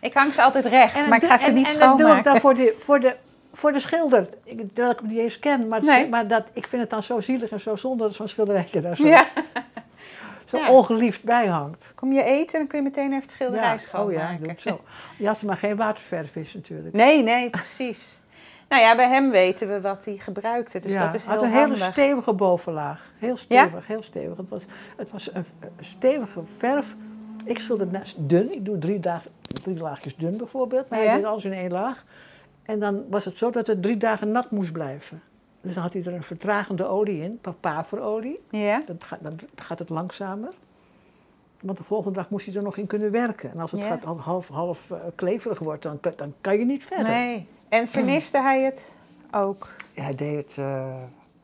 S3: Ik hang ze altijd recht,
S1: En dan
S3: maar ik
S1: doe-
S3: ga ze
S1: en-
S3: niet
S1: En dat doe ik
S3: schoonmaken.
S1: dan voor de, voor de, voor de schilder. Ik, dat ik hem niet eens ken. Maar, het-
S3: Nee.
S1: maar dat, ik vind het dan zo zielig en zo zonde dat zo'n schilderijtje daar zo,
S3: Ja.
S1: zo
S3: Ja.
S1: ongeliefd bij hangt.
S3: Kom je eten, dan kun je meteen even het schilderij
S1: oh
S3: schoonmaken.
S1: ja, doe het zo. Ja, als er maar geen waterverf is natuurlijk.
S3: Nee, nee, precies. Nou ja, bij hem weten we wat hij gebruikte, dus
S1: ja,
S3: dat is
S1: had
S3: heel
S1: een
S3: handig.
S1: hele stevige bovenlaag. Heel stevig, heel stevig. Het was, het was een een stevige verf. Ik schilder naast dun. Ik doe drie, dagen, drie laagjes dun bijvoorbeeld. Maar
S3: Ja.
S1: hij deed alles in één laag. En dan was het zo dat het drie dagen nat moest blijven. Dus dan had hij er een vertragende olie in, papaverolie.
S3: Ja,
S1: Dan gaat, dan gaat het langzamer. Want de volgende dag moest hij er nog in kunnen werken. En als het
S3: Ja.
S1: gaat half, half, half, eh, kleverig wordt, dan, kan- dan kan je niet verder.
S3: nee. En verniste hij het ook
S1: Ja, hij deed het, eh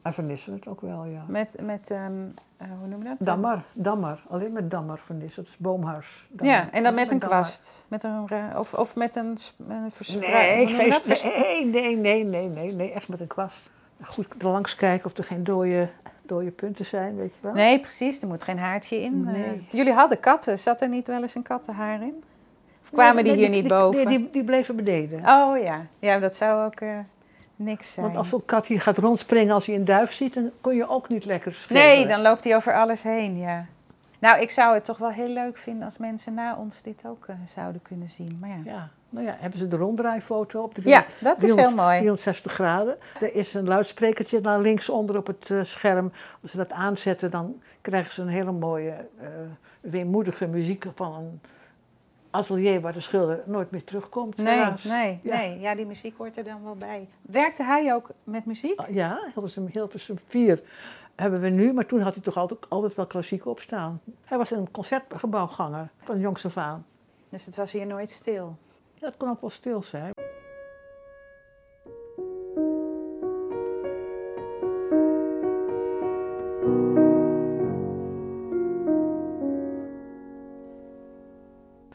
S1: hij verniste het ook wel, ja.
S3: met, met ehm, eh, hoe noem je dat?
S1: Dammer, dammer. Alleen met dammer van dit, dat is boomhars. Dammer.
S3: Ja, en dan met een
S1: dammer.
S3: kwast. Dus Met een, ra- of, of met een, s- een verspreiding.
S1: Nee, geen, nee, nee, nee, nee, nee, nee, echt met een kwast. Goed er langs kijken of er geen dode, dode punten zijn, weet je wel.
S3: nee, precies. Er moet geen haartje in. eh.
S1: Nee.
S3: jullie hadden katten. Zat er niet wel eens een kattenhaar in? Of kwamen die
S1: Nee,
S3: hier niet boven?
S1: Nee, die, die bleven beneden.
S3: Oh ja. Ja, dat zou ook eh, niks zijn.
S1: Want als zo'n kat hier gaat rondspringen als hij een duif ziet, dan kon je ook niet lekker schilderen.
S3: Nee, dan loopt hij over alles heen, ja. Nou, ik zou het toch wel heel leuk vinden als mensen na ons dit ook eh, zouden kunnen zien. Maar ja,
S1: Ja, nou ja, hebben ze de ronddraaifoto op? drie-
S3: ja dat is heel
S1: 300
S3: mooi.
S1: 360 graden. Er is een luidsprekertje naar linksonder op het eh, scherm. Als ze dat aanzetten, dan krijgen ze een hele mooie, eh weemoedige muziek van een atelier waar de schilder nooit meer terugkomt.
S3: Nee,
S1: helaas.
S3: nee,
S1: Ja.
S3: nee. Ja, die muziek hoort er dan wel bij. Werkte hij ook met muziek?
S1: Ja, Hilversum, Hilversum 4 hebben we nu, maar toen had hij toch altijd, altijd wel klassiek opstaan. Hij was een concertgebouwganger van jongs af aan.
S3: Dus het was hier nooit stil.
S1: Ja, dat kon ook wel stil zijn.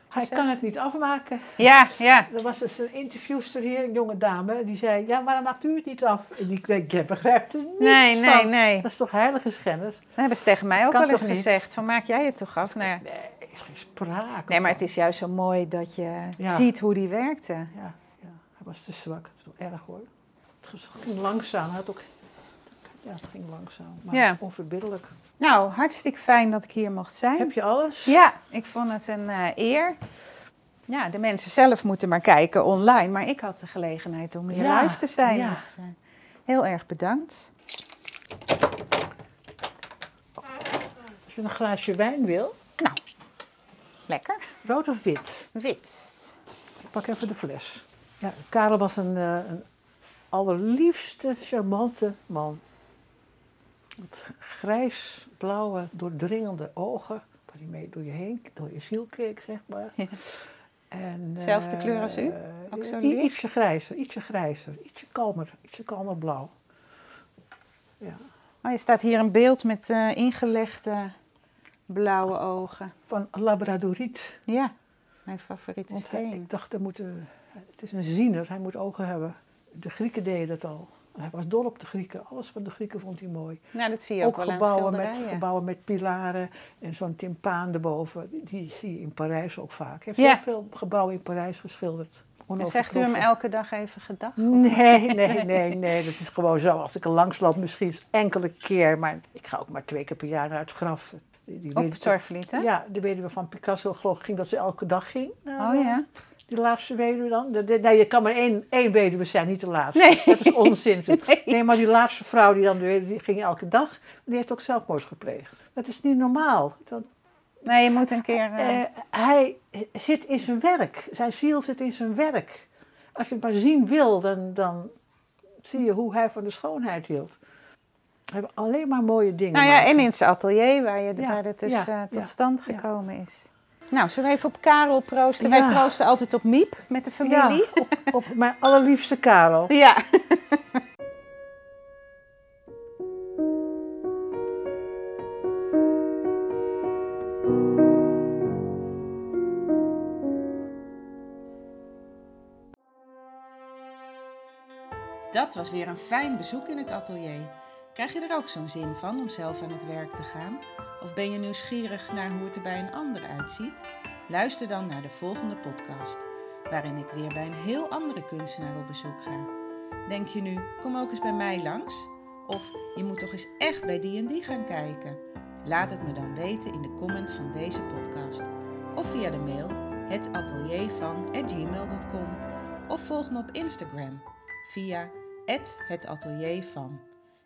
S1: Hij kan het niet afmaken.
S3: Ja, ja.
S1: Er was dus een interviewster hier, een jonge dame, die zei: Ja, waarom maakt u het niet af? En ik denk: Jij begrijpt er niets
S3: Nee, nee,
S1: van.
S3: nee.
S1: Dat is toch heilige schennis?
S3: Dat hebben ze tegen mij ook
S1: Kan
S3: wel eens
S1: toch niet?
S3: gezegd. Van maak jij het toch af? Nou, ja.
S1: Nee, er is geen sprake.
S3: nee, maar
S1: van.
S3: het is juist zo mooi dat je
S1: Ja.
S3: ziet hoe die werkte.
S1: Ja, ja, hij was te zwak. Het was wel erg hoor. Het ging langzaam. Hij had ook... Ja, het ging langzaam. Maar
S3: Ja.
S1: onverbiddelijk.
S3: Nou, hartstikke fijn dat ik hier mocht zijn.
S1: Heb je alles?
S3: Ja, ik vond het een eh, eer. Ja, de mensen zelf moeten maar kijken online. Maar ik had de gelegenheid om hier
S1: Ja,
S3: live te zijn.
S1: ja.
S3: Dus eh, heel erg bedankt.
S1: Als je een glaasje wijn wil,
S3: Lekker.
S1: rood of wit?
S3: Wit.
S1: Ik pak even de fles. Ja, Karel was een, eh, een allerliefste, charmante man. Met grijs-blauwe, doordringende ogen, waar hij mee door je heen, door je ziel keek, zeg maar.
S3: Ja.
S1: En,
S3: Zelfde
S1: eh,
S3: kleur als u?
S1: eh,
S3: Ook zo
S1: i-
S3: licht?
S1: Ietsje grijzer, ietsje grijzer, ietsje kalmer, ietsje kalmer blauw.
S3: Oh, je staat hier een beeld met eh, ingelegde blauwe ogen.
S1: Van labradoriet.
S3: Ja, mijn favoriete
S1: Want hij-
S3: steen.
S1: ik dacht, er moet, eh, het is een ziener, hij moet ogen hebben. De Grieken deden dat al. Hij was dol op de Grieken, alles van de Grieken vond hij mooi.
S3: Nou, dat zie je ook,
S1: Ook
S3: wel aan
S1: gebouwen met,
S3: schilderijen.
S1: gebouwen met pilaren en zo'n timpaan erboven. Die- Die zie je in Parijs ook vaak. Hij heeft
S3: Ja.
S1: heel veel gebouwen in Parijs geschilderd.
S3: En zegt u hem
S1: Onovertroffen.
S3: elke dag even gedag?
S1: Nee, nee, nee, nee. Dat is gewoon zo. Als ik er langs loop, misschien eens enkele keer. Maar ik ga ook maar twee keer per jaar naar het graf. Die, die
S3: Op
S1: weduwe-
S3: het zorgvliet, hè?
S1: Ja, de weduwe van Picasso geloof ik ging dat ze elke dag ging. Nou,
S3: Oh ja.
S1: Die laatste weduwe dan. De- de- nee, je kan maar één, één weduwe zijn, niet de laatste.
S3: Nee.
S1: Dat is onzin.
S3: Nee.
S1: Nee. maar die laatste vrouw die dan de weduwe, die ging elke dag. Die heeft ook zelfmoord gepleegd. Dat is niet normaal. Dat,
S3: Nee, je moet een keer... eh,
S1: eh, hij zit in zijn werk. Zijn ziel zit in zijn werk. Als je het maar zien wil, dan, dan zie je hoe hij van de schoonheid hield. We hebben alleen maar mooie dingen.
S3: nou ja,
S1: maken.
S3: en in zijn atelier waar, je,
S1: Ja,
S3: waar het dus
S1: ja,
S3: eh, tot
S1: ja,
S3: stand
S1: ja.
S3: gekomen is.
S7: Nou, zullen we even op Karel proosten? Wij
S1: Ja.
S7: proosten altijd op Miep met de familie.
S1: Ja, op, op mijn allerliefste Karel.
S7: ja.
S3: Dat was weer een fijn bezoek in het atelier. Krijg je er ook zo'n zin van om zelf aan het werk te gaan? Of ben je nieuwsgierig naar hoe het er bij een ander uitziet? Luister dan naar de volgende podcast, waarin ik weer bij een heel andere kunstenaar op bezoek ga. Denk je nu, kom ook eens bij mij langs? Of je moet toch eens echt bij die en die gaan kijken? Laat het me dan weten in de comment van deze podcast. Of via de mail hetateliervan.gmail.com Of volg me op Instagram via het atelier van.